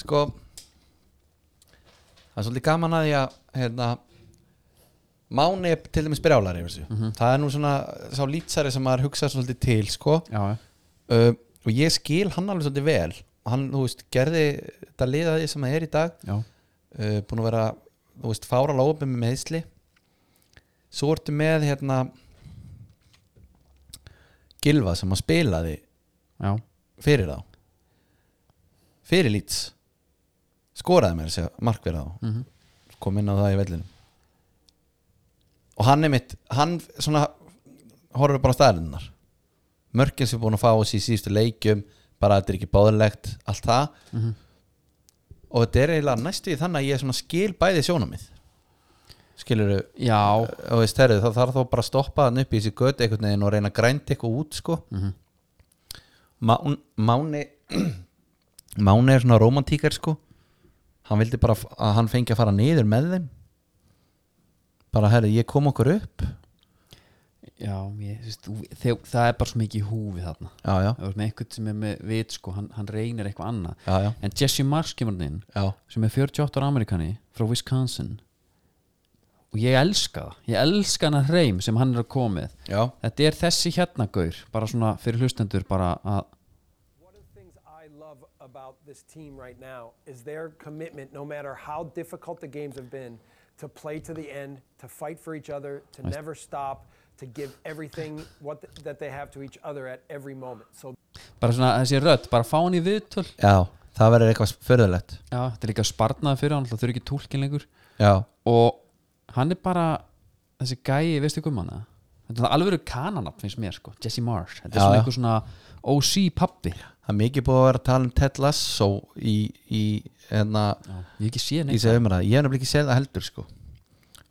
Speaker 2: sko það er svolítið gaman að því að hérna Máni er til dæmis brjálari yfir þessu það er nú svona sá lýtsari sem maður hugsa svolítið til sko
Speaker 1: já, já.
Speaker 2: uh, og ég skil hann alveg svolítið vel hann, þú veist, gerði þetta liðaði sem það er í dag
Speaker 1: já.
Speaker 2: uh, búin að vera þú veist, fára lágum með meðsli svo ertu með hérna Gilva sem að spilaði
Speaker 1: já.
Speaker 2: fyrir þá fyrir lýts skoraði mér þessi markverð á mm -hmm. kom inn á það í vellinum og hann er mitt hann svona horfir bara á staðarinnar mörkin sem er búin að fá þessi í síðustu leikjum bara að þetta er ekki báðilegt allt það og þetta er eiginlega næstu í þannig að ég svona skil bæði sjónamið skilur þau
Speaker 1: já.
Speaker 2: og veist herrið, það þarf þá bara að stoppa hann upp í þessi gött einhvern veginn og reyna að grænda eitthvað út sko Mán, Máni Máni er svona romantíkar sko hann vildi bara f- að hann fengi að fara niður með þeim bara herrið, ég kom okkur upp
Speaker 1: Já, ég, þú veist, þú- þeg- það er bara svo mikið í húfi þarna
Speaker 2: já, já,
Speaker 1: Það er með einhvern sem er með vit sko, hann, hann reynir eitthvað annað
Speaker 2: já, já,
Speaker 1: En Jesse Mars kemur hann inn
Speaker 2: já.
Speaker 1: sem er 48 ára amerikani frá Wisconsin og ég elska það ég elska hann að hreim sem hann er að komið
Speaker 2: já.
Speaker 1: Þetta er þessi hérna gaur bara svona fyrir hlustendur bara að
Speaker 7: One of the things I love about this team right now is their commitment, no matter how difficult the games have been, to play to the end, to fight for each other, to never stop, to give everything what th- that they have to each other at every moment. So
Speaker 1: bara svona þessi rödd, bara fá hann í viðtöl
Speaker 2: já það verður eitthvað förðulegt
Speaker 1: Já, þetta er líka sparnaði fyrir hann það þurfi ekki túlkin lengur
Speaker 2: já,
Speaker 1: og hann er bara þessi gæi, veistu hvað manna þetta er alveg verið kananat finnst mér sko Jesse Marsh, þetta er
Speaker 2: Já,
Speaker 1: svona
Speaker 2: já.
Speaker 1: einhver svona OC pappi,
Speaker 2: það er mikið búið að vera að tala um Ted Lasso í, í, hérna,
Speaker 1: ég hef ekki séð
Speaker 2: í
Speaker 1: neitt
Speaker 2: þessi umræð ég hef nefnilega ekki séð það heldur sko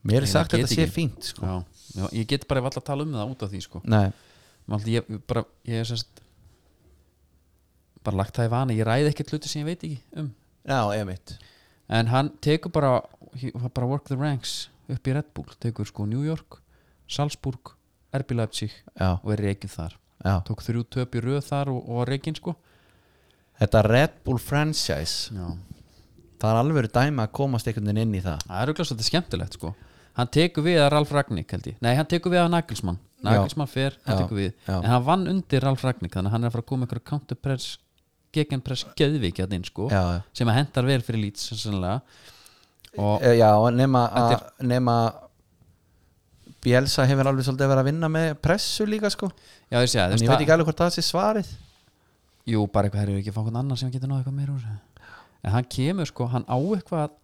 Speaker 2: mér er
Speaker 1: Ég
Speaker 2: sagt að
Speaker 1: get
Speaker 2: þetta sé
Speaker 1: ekki.
Speaker 2: fínt sko
Speaker 1: já, já, ég get bara valla að tala um það út af því sko
Speaker 2: Nei,
Speaker 1: Maldi, ég, ég bara, ég er sérst bara lagt það í vana ég ræði ekkert hluti sem ég veit ekki um
Speaker 2: já, ég mitt
Speaker 1: en hann tekur bara, he- hann bara work the ranks upp í Red Bull, tekur sko New York Salzburg, RB Leipzig
Speaker 2: Já,
Speaker 1: og er reikin þar
Speaker 2: já.
Speaker 1: tók þrjú töp í röð þar og, og var reikin sko
Speaker 2: Þetta Red Bull franchise
Speaker 1: já
Speaker 2: Það er alveg dæmi að komast einhvern veginn inn í það
Speaker 1: Það er auðvitað svolítið skemmtilegt sko Hann tekur við að Ralf Ragník held ég Nei, hann tekur við að Nagelsmann Nagelsmann fer, hann
Speaker 2: Já,
Speaker 1: tekur við
Speaker 2: já.
Speaker 1: En hann vann undir Ralf Ragník Þannig að hann er að fara að koma ykkur counterpress Gegenpress geðvik hérna inn sko
Speaker 2: Já, já.
Speaker 1: Sem að hendar vel fyrir lít sannlega Og
Speaker 2: E, Já, nema, a, nema Bielsa hefur alveg svolítið verið að vinna með pressu líka sko
Speaker 1: já, ég sé að
Speaker 2: En ég veit ekki alveg hvort það sé svarið
Speaker 1: Jú, bara eitthvað herrið ekki að fá einhvern annar sem getur náð eitthvað meira úr þessu. En hann kemur sko, hann á eitthvað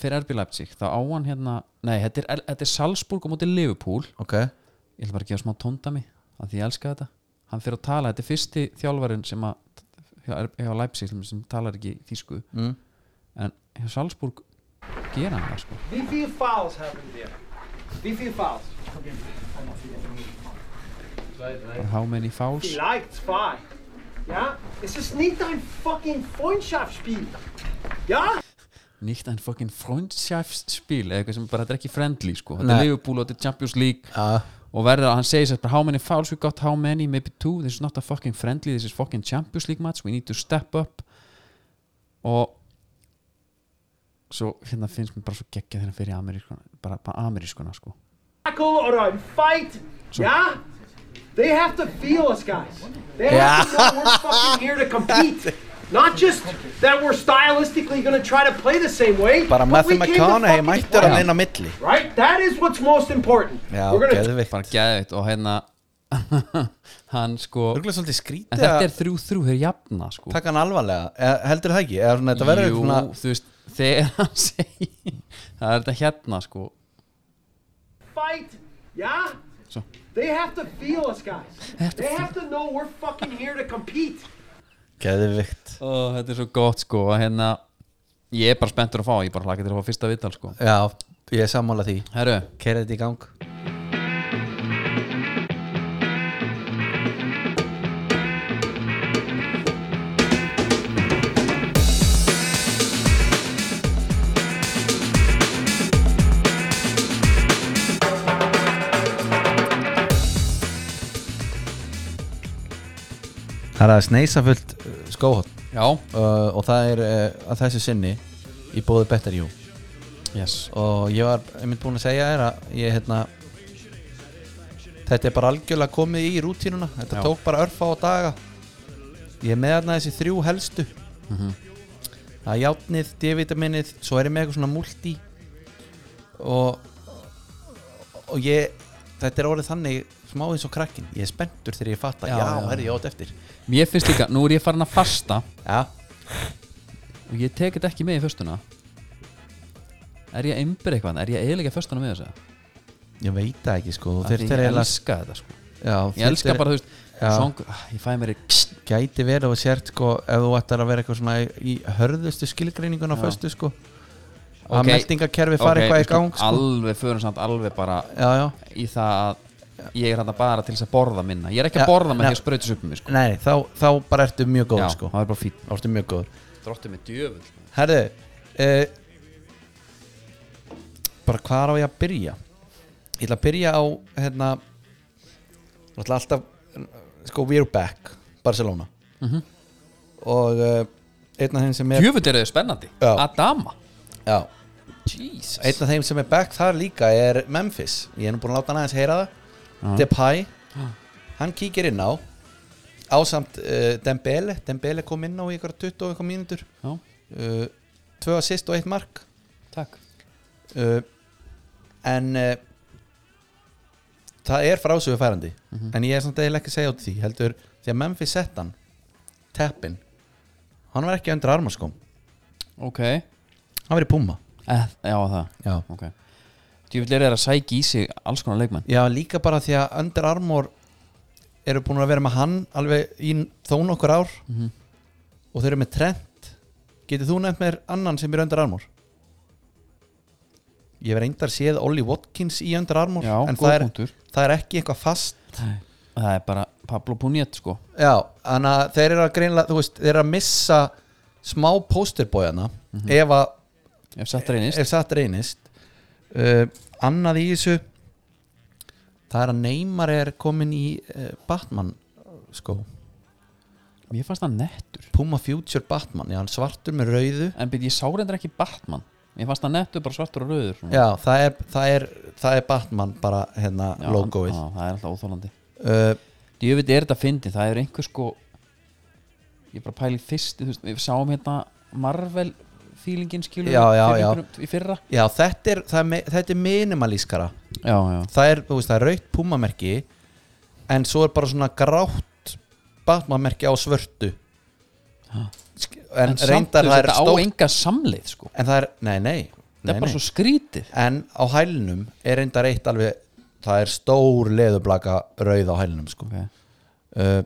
Speaker 1: Fyrir RB Leipzig, þá á hann hérna Nei, þetta er, þetta er Salzburg á móti Liverpool
Speaker 2: Ok,
Speaker 1: ég ætla bara að gefa smá tóndami að því ég elska þetta hann fyrir að tala, þetta er fyrsti þjálfarin sem að hjá, hjá Leipzig sem, sem talar ekki þýsku mm. en hjá Salzburg gera hann það sko
Speaker 8: Wie viel Fouls haben wir? Wie viel Fouls?
Speaker 1: bara how many fouls
Speaker 8: Vielleicht zwei. Ja? Es ist nicht ein fucking Freundschaftsspiel. Ja?
Speaker 1: nýtt en fucking freundschaftspil eða eitthvað sem bara, þetta er ekki friendly sko þetta
Speaker 2: Nei.
Speaker 1: er Liverpool og þetta er Champions League
Speaker 2: Ja.
Speaker 1: og verður að hann segir sér bara how many fouls we got, how many, maybe two this is not a fucking friendly, this is fucking Champions League match we need to step up og svo hérna finnst mér bara svo geggja þegar hann fyrir amerískuna bara, bara amerískuna sko
Speaker 8: Tackle oder ein Fight. Ja? They have to feel us guys. They have to know we're fucking here to compete. Not just that we're stylistically gonna try to play the same way.
Speaker 2: bara
Speaker 8: but we
Speaker 2: Matthew
Speaker 8: came to
Speaker 2: McConaughey
Speaker 8: fucking
Speaker 2: mættur
Speaker 8: play.
Speaker 2: hann inn á milli
Speaker 8: Right? That is what's most important.
Speaker 2: Já,
Speaker 8: we're gonna
Speaker 2: geðvikt
Speaker 1: bara geðveitt og hérna hann sko en
Speaker 2: Örgulega svolítið skrítið
Speaker 1: þetta
Speaker 2: að
Speaker 1: er þrjú þrjú hér jafna sko
Speaker 2: taka hann alvarlega e, Heldur það ekki? Er, svona, þetta verður
Speaker 1: Jú,
Speaker 2: svona
Speaker 1: þú veist, þegar hann segir það er þetta hérna sko
Speaker 8: fight. Yeah?
Speaker 1: So-
Speaker 8: They have to feel us guys. They have to know we're fucking here to compete.
Speaker 2: Geðvikt
Speaker 1: Ó, þetta er svo gott sko og hérna ég er bara spenntur að fá, ég bara hlakka til að fá fyrsta viðtal sko
Speaker 2: Já, ég er sammála því
Speaker 1: Herru,
Speaker 2: Kerið þetta í gang Það er að sneisafullt skóhótt
Speaker 1: já,
Speaker 2: uh, og það er uh, að þessu sinni í bóði Better You
Speaker 1: yes.
Speaker 2: og ég var einmitt búinn að segja þér að ég hérna þetta er bara algjörlega komið í rútínuna þetta
Speaker 1: Já.
Speaker 2: tók bara örfa á daga ég er með þarna þessi þrjú helstu Mhm. það er játnið, D-vitaminnið svo er ég með eitthvað svona multi og og ég, þetta er orðið þannig smá eins og krakkin, ég er spenntur þegar ég fatta já,
Speaker 1: Já,
Speaker 2: já,
Speaker 1: já.
Speaker 2: herri, ég átt eftir
Speaker 1: Mér finnst líka, nú er ég farin að fasta
Speaker 2: já,
Speaker 1: og ég tek þetta ekki með í föstuna Er ég að einbyr eitthvað? Er ég að eiginlega föstuna með þessu?
Speaker 2: ég veit það ekki sko
Speaker 1: Af
Speaker 2: þeir,
Speaker 1: því
Speaker 2: þeir
Speaker 1: Ég
Speaker 2: eiginlega-
Speaker 1: elska þetta sko
Speaker 2: já,
Speaker 1: Ég
Speaker 2: þeir-
Speaker 1: elska
Speaker 2: þeir-
Speaker 1: bara, þú veist,
Speaker 2: Já.
Speaker 1: song, ah, ég fæ mér í-
Speaker 2: gæti verið að þú sért sko ef þú ættar að vera eitthvað svona í, í hörðustu skilgreiningun á
Speaker 1: Já.
Speaker 2: föstu sko að
Speaker 1: Ok.
Speaker 2: meldingakerfi
Speaker 1: Ok,
Speaker 2: fari
Speaker 1: við
Speaker 2: eitthvað í
Speaker 1: skulum
Speaker 2: gang sko.
Speaker 1: Alveg, förum samt alveg bara
Speaker 2: já, já,
Speaker 1: í það að ég er hann bara til þess að borða minna Ég er ekki
Speaker 2: Já,
Speaker 1: að borða með
Speaker 2: já.
Speaker 1: því að sprautis upp um mig sko
Speaker 2: nei, þá, þá bara ertu mjög góð
Speaker 1: Já,
Speaker 2: sko,
Speaker 1: það er bara fín
Speaker 2: þá ertu mjög góð
Speaker 1: Dróttu með djöful
Speaker 2: herðu uh, bara hvar á ég að byrja ég ætla að byrja á hérna ég ætla alltaf sko we're back, Barcelona
Speaker 1: Mhm.
Speaker 2: og uh, einn af þeim sem er
Speaker 1: Djöful eru þau spennandi
Speaker 2: Já.
Speaker 1: Adama
Speaker 2: já,
Speaker 1: Jesus
Speaker 2: einn af þeim sem er back þar líka er Memphis ég er nú búin að láta hann aðeins heyra það Depay hann kíkir inn á ásamt uh, Dembele Dembele kom inn á í ykkur 20 og ykkur mínútur
Speaker 1: Já,
Speaker 2: uh, tvö assist og eitt mark
Speaker 1: takk
Speaker 2: uh, en uh, það er frásögu færandi en ég er samt eiginlega ekki að segja út því heldur því að Memphis sett hann teppin hann var ekki undir armaskóm
Speaker 1: Ok
Speaker 2: hann var í Puma
Speaker 1: eh, Já, það
Speaker 2: já
Speaker 1: Ok Djöful eru þeir að sækja í sig alls konar leikmenn
Speaker 2: Já, líka bara því að Under Armour eru búin að vera með hann alveg í þó nokkur ár
Speaker 1: Mhm.
Speaker 2: og þau eru með Trent Getið þú nefnt mér annan sem er Under Armour? Ég hef reyndar séð Ollie Watkins í Under Armour
Speaker 1: Já,
Speaker 2: en
Speaker 1: góð
Speaker 2: það er,
Speaker 1: punktur.
Speaker 2: það er ekki eitthvað fast
Speaker 1: Nei. Það er bara Pablo Puniet sko
Speaker 2: Já, þannig að þeir eru að greinlega þú veist, þeir eru að missa smá posterbójana
Speaker 1: Mhm.
Speaker 2: ef að
Speaker 1: Ef settar einist
Speaker 2: ef satt reynist uh, annað í þessu það er að Neymar er komin í uh, Batman sko, eh,
Speaker 1: Mér fannst það nettur
Speaker 2: Puma Future Batman já, hann er svartur með rauðu
Speaker 1: En byrja, ég sá reyndar ekki Batman Mér fannst það nettur bara svartur og rauður svona.
Speaker 2: já, það er, það er, það er Batman bara hérna
Speaker 1: Já,
Speaker 2: logoið
Speaker 1: hann- já, Það er alltaf óþólandi
Speaker 2: uh,
Speaker 1: Djöfitt er þetta fyndi, það er einhver sko Ég er bara pæli fyrst þú veist, Við sáum hérna Marvel Fílingin skilur
Speaker 2: Já, já,
Speaker 1: fyrir
Speaker 2: já.
Speaker 1: einhverjum- Í fyrra
Speaker 2: já, þetta er, það er, me- þetta er minimalískara
Speaker 1: Já, já,
Speaker 2: það er, þú veist, það er raukt Puma-merki en svo er bara svona grátt Batman-merki á svörtu Sk- en,
Speaker 1: samt,
Speaker 2: reyndar
Speaker 1: þú veist,
Speaker 2: það er
Speaker 1: Þetta á
Speaker 2: stórt
Speaker 1: enga samleið sko
Speaker 2: en það er, nei, nei,
Speaker 1: Það
Speaker 2: nei,
Speaker 1: er bara
Speaker 2: nei.
Speaker 1: svo skrítið
Speaker 2: en á hælnum er reyndar eitt alveg það er stór leðublaka rauð á hælnum sko.
Speaker 1: okay.
Speaker 2: uh,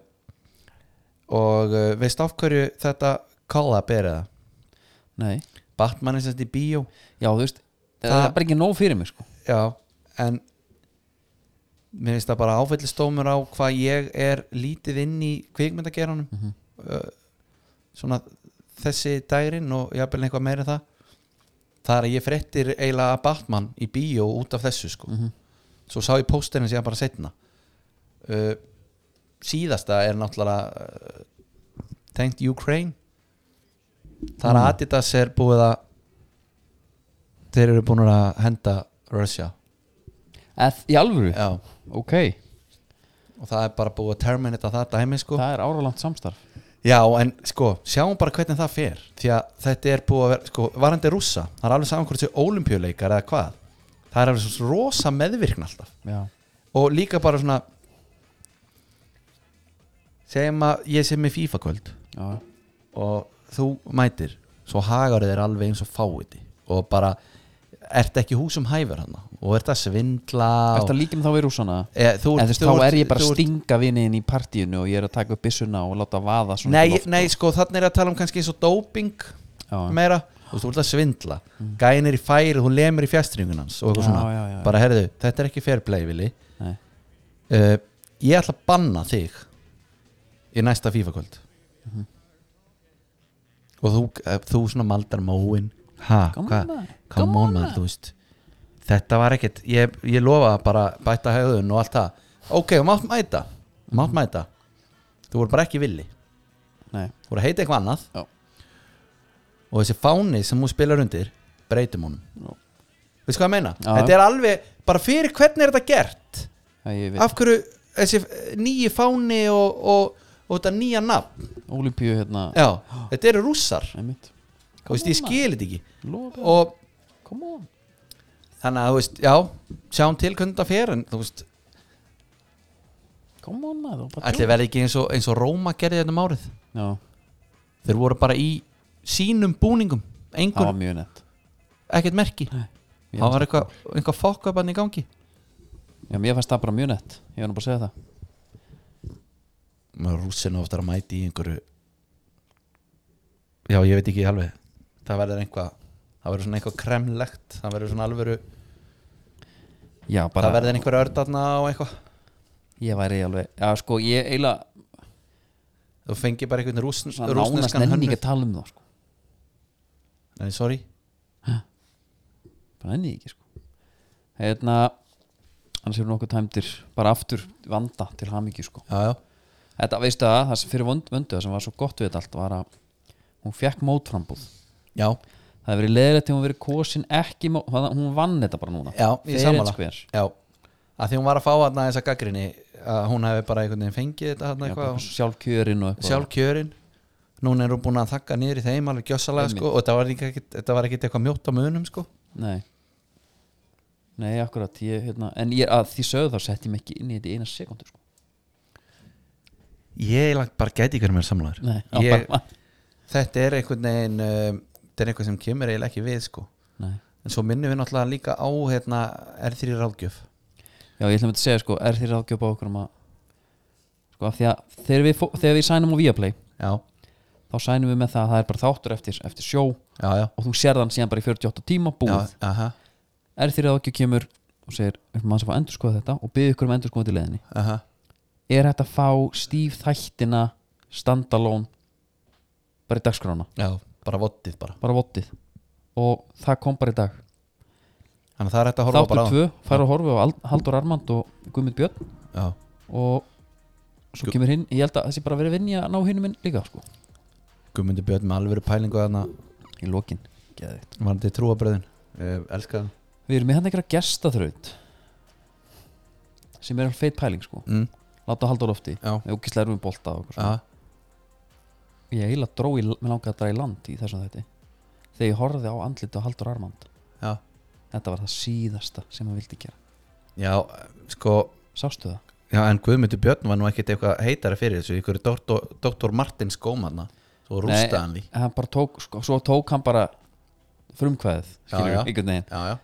Speaker 2: og uh, veist af hverju þetta collab er eða
Speaker 1: Nei,
Speaker 2: Batman er semst í bíó
Speaker 1: já þú veist Það,
Speaker 2: Það-
Speaker 1: er bara ekki nóg fyrir mig sko
Speaker 2: já, en mér finnst það bara áfellistómur á hvað ég er lítið inn í kvikmyndageranum uh, svona þessi dærin og jafnvel eitthvað meira en það það er að ég fréttir eiginlega að Batman í bíó út af þessu sko svo sá ég pósterinn síðan bara setna uh, síðasta er náttúrulega uh, tengt Ukraine það er að Adidas er búið að þeir eru búin að henda Russia
Speaker 1: Eð, Í alvöru,
Speaker 2: Já,
Speaker 1: ok
Speaker 2: og það er bara búið að terminita það dæmi sko.
Speaker 1: Það er áralangt samstarf
Speaker 2: Já, en sko, sjáum bara hvernig það fer því að þetta er búið að vera, sko, varandi rússa það er alveg saman hvort þessi ólimpíuleikar eða hvað það er alveg svona rosa meðvirkn alltaf
Speaker 1: Já,
Speaker 2: og líka bara svona segjum að ég sem er FIFA kvöld
Speaker 1: já,
Speaker 2: og þú mætir svo hagar þeir alveg eins og fáiði og bara, ert ekki húsum hæfur hann og ert að svindla
Speaker 1: eftir
Speaker 2: og,
Speaker 1: að líka með þá við rússana
Speaker 2: e, þú,
Speaker 1: En þú
Speaker 2: ert-
Speaker 1: veist,
Speaker 2: þú
Speaker 1: þá
Speaker 2: ert-
Speaker 1: er ég bara
Speaker 2: þú
Speaker 1: að
Speaker 2: ert-
Speaker 1: stinga viniðin í partíinu og ég er að taka upp byssuna og láta vaða svona
Speaker 2: Nei,
Speaker 1: upp í loft.
Speaker 2: nei, sko, þannig er ég að tala um kannski eins og doping
Speaker 1: Já, já.
Speaker 2: meira, Mm. þú veist, þú ert að svindla gæin er í færi, þú lemur í fjastringun hans og eitthvað
Speaker 1: Já,
Speaker 2: svona,
Speaker 1: já, já, já.
Speaker 2: bara herðu þetta er ekki fair play, Vili
Speaker 1: Nei.
Speaker 2: uh, ég ætla að banna þig í næsta FIFA kvöld Mhm. og þú, eh, þú svona maldar móin ha,
Speaker 1: Come
Speaker 2: hva,
Speaker 1: on, maður.
Speaker 2: come
Speaker 1: Come
Speaker 2: on
Speaker 1: on,
Speaker 2: maður, þú veist þetta var ekkert, ég, ég lofa að bara bæta höfðun og allt það ok, þú mátt mæta, mátt mæta þú voru bara ekki villi
Speaker 1: Nei,
Speaker 2: voru að heita eitthvað annað
Speaker 1: Já.
Speaker 2: og þessi fáni sem hún spilar undir breytum honum
Speaker 1: Já.
Speaker 2: veist hvað ég meina?
Speaker 1: Já.
Speaker 2: Þetta er alveg, bara fyrir hvernig er þetta gert?
Speaker 1: Það ég veit,
Speaker 2: Af hverju þessi eh, nýji fáni og, og, og þetta nýja nafn
Speaker 1: Olímpíu hérna
Speaker 2: Já, þetta eru rússar
Speaker 1: Einmitt.
Speaker 2: Þú veist, ég skil þetta ekki
Speaker 1: Lofa,
Speaker 2: Og
Speaker 1: come on
Speaker 2: þannig að, þú veist, já, sjáum til hvernig þetta fer En þú veist,
Speaker 1: Come on maður bara
Speaker 2: ætli verði ekki eins og, eins og Róma gerði þetta um árið
Speaker 1: tjók. Já,
Speaker 2: Þeir voru bara í sínum búningum
Speaker 1: það
Speaker 2: Engur,
Speaker 1: var mjög nett
Speaker 2: ekkert merki
Speaker 1: Nei. Ég
Speaker 2: Það
Speaker 1: fannst-
Speaker 2: var eitthvað, eitthvað fokkabann í gangi
Speaker 1: Já, mér fannst það bara mjög nett Ég var nú bara að segja það
Speaker 2: rússinu oftar að mæti í einhverju já ég veit ekki alveg það verður einhvað það verður svona eitthvað kremlegt það verður svona alvöru
Speaker 1: Já, bara
Speaker 2: það verður einhverja ördarna og eitthvað
Speaker 1: Ég væri alveg Já, sko, ég eiginlega
Speaker 2: þú fengir bara einhvern rúsn,
Speaker 1: svona nánast
Speaker 2: rúsneskan
Speaker 1: nenni
Speaker 2: hönnu
Speaker 1: ekki að tala um það sko.
Speaker 2: nei sorry
Speaker 1: Bara nenni ekki, sko Hérna Annars hefur nokkuð tæmdir Bara aftur vanda til hamingju, sko
Speaker 2: já, já.
Speaker 1: Þetta, veistu það, það sem fyrir vond, vöndu Það sem var svo gott við þetta allt var að Hún fekk mótframbúð
Speaker 2: já
Speaker 1: Það hefur verið leðilegt þegar hún verið kosin ekki mó- það- Hún vann þetta bara núna
Speaker 2: já ég
Speaker 1: Fyrir
Speaker 2: sammála
Speaker 1: einskver.
Speaker 2: já að því hún var að fá hann að þessa gaggrinni að hún hefði bara einhvern veginn fengið þetta hann
Speaker 1: Já, bara
Speaker 2: eitthvað og-
Speaker 1: Sjálf kjörin og eitthvað
Speaker 2: sjálf kjörin núna er hún búin að þakka niður í þeim alveg gjössalega sko og þetta var ekkit, þetta var ekkit eitthvað mjótt á munum sko
Speaker 1: Nei Nei, akkurat ég, hérna, En ég, að því sögðu þá sett ég mig ekki inn í þetta í eina sekundu sko.
Speaker 2: Ég eiginlega bara gæti ekki verið mér
Speaker 1: Nei,
Speaker 2: samlaður
Speaker 1: já,
Speaker 2: ég,
Speaker 1: bara-
Speaker 2: Þetta er einhvern veginn um, Þetta er eitthvað sem kemur eiginlega ekki við sko.
Speaker 1: Nei.
Speaker 2: En svo minnum við náttúrulega líka á hérna, R3 ráðgjöf
Speaker 1: Já, ég ætlum að segja sko, er þér ráðgjöf á okkur um að sko, af því að þegar við, fó- þegar við sænum á Viaplay
Speaker 2: Já,
Speaker 1: þá sænum við með það að það er bara þáttur eftir, eftir sjó og
Speaker 2: já, já,
Speaker 1: þú sér þann síðan bara í 48 tíma
Speaker 2: já
Speaker 1: búið
Speaker 2: aha,
Speaker 1: er þér ráðgjöf kemur og segir, við erum aðeins að fá endur skoða þetta og byggði ykkur um endur skoða til leðinni
Speaker 2: aha.
Speaker 1: er hægt að fá stíf þættina standalone bara í dagskrána,
Speaker 2: já Bara vottið bara
Speaker 1: bara vottið og það kom bara í dag
Speaker 2: Þannig að það er hægt að horfa
Speaker 1: þáttu
Speaker 2: bara á
Speaker 1: tvö, fara að horfa á Al- Halldór Armand og Guðmund Björn
Speaker 2: Já,
Speaker 1: og svo kemur hinn, ég held að þessi bara verið að vinja að ná hinnum minn líka sko,
Speaker 2: Guðmundur Björn með alvöru pælingu Þannig
Speaker 1: í lokin Geðvikt.
Speaker 2: að var þetta trúabröðin uh, Elskar það
Speaker 1: við erum með hann einhverja gestaþraut sem er alveg feit pæling sko
Speaker 2: mm,
Speaker 1: láta Halldór lofti,
Speaker 2: Já.
Speaker 1: með ógislega erum við bolta og eitthvað
Speaker 2: Já,
Speaker 1: svona. ég heila dró í, mér langaði að draga í land í þessum þetta þegar ég horfði á andliti á Halldór Armand
Speaker 2: já
Speaker 1: þetta var það síðasta sem hann vildi gera
Speaker 2: Já, sko
Speaker 1: sástu það?
Speaker 2: Já, en Guðmundur Björn var nú ekkit eitthvað heitari fyrir þessu Ykkur doktor, doktor Martin Skómanna Svo rústaði hann því
Speaker 1: Nei, hann bara tók, sko, svo tók hann bara frumkvæðið,
Speaker 2: Já,
Speaker 1: skilur
Speaker 2: já.
Speaker 1: við, einhvern veginn
Speaker 2: Já, já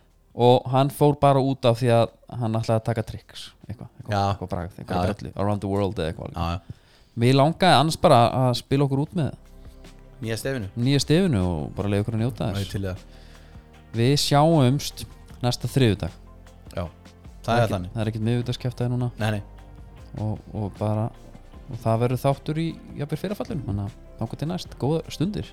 Speaker 1: og hann fór bara út af því að hann ætlaði að taka tricks eitthvað, eitthvað,
Speaker 2: Já.
Speaker 1: eitthvað bragð,
Speaker 2: Já,
Speaker 1: eitthvað
Speaker 2: já.
Speaker 1: dröllu around the world eða eitthvað
Speaker 2: já, já.
Speaker 1: mér langaði annars bara að spila okkur út með
Speaker 2: Nýja stefinu
Speaker 1: nýja stefinu og bara leiða okkur að njóta
Speaker 2: Það er
Speaker 1: þess
Speaker 2: til í það
Speaker 1: við sjáumst næsta þriðudag
Speaker 2: Já, það er þannig
Speaker 1: það er ekkert miðvítaskeftaði núna
Speaker 2: Nei, nei,
Speaker 1: og, og bara og það verður þáttur í jafnvel fyrirfallinu þannig að þáka til næst, góða stundir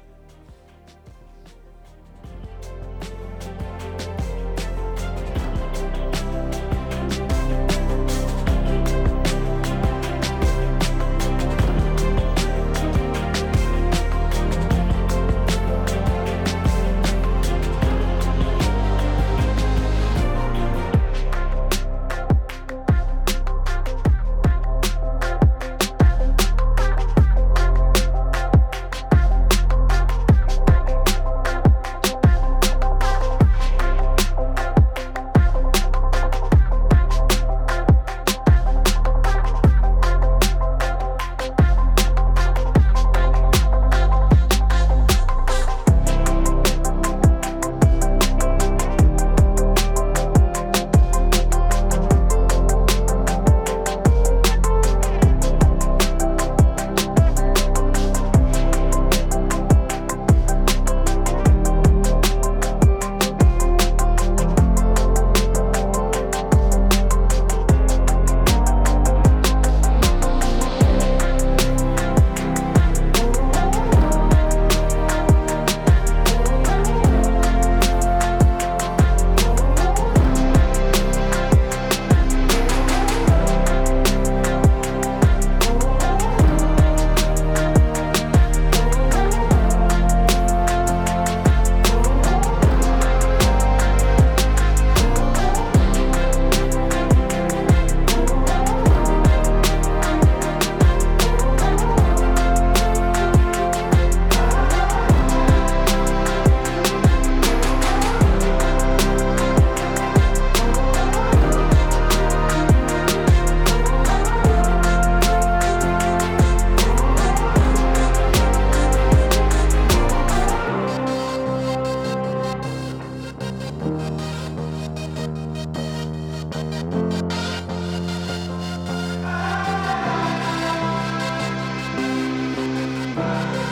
Speaker 6: Bye.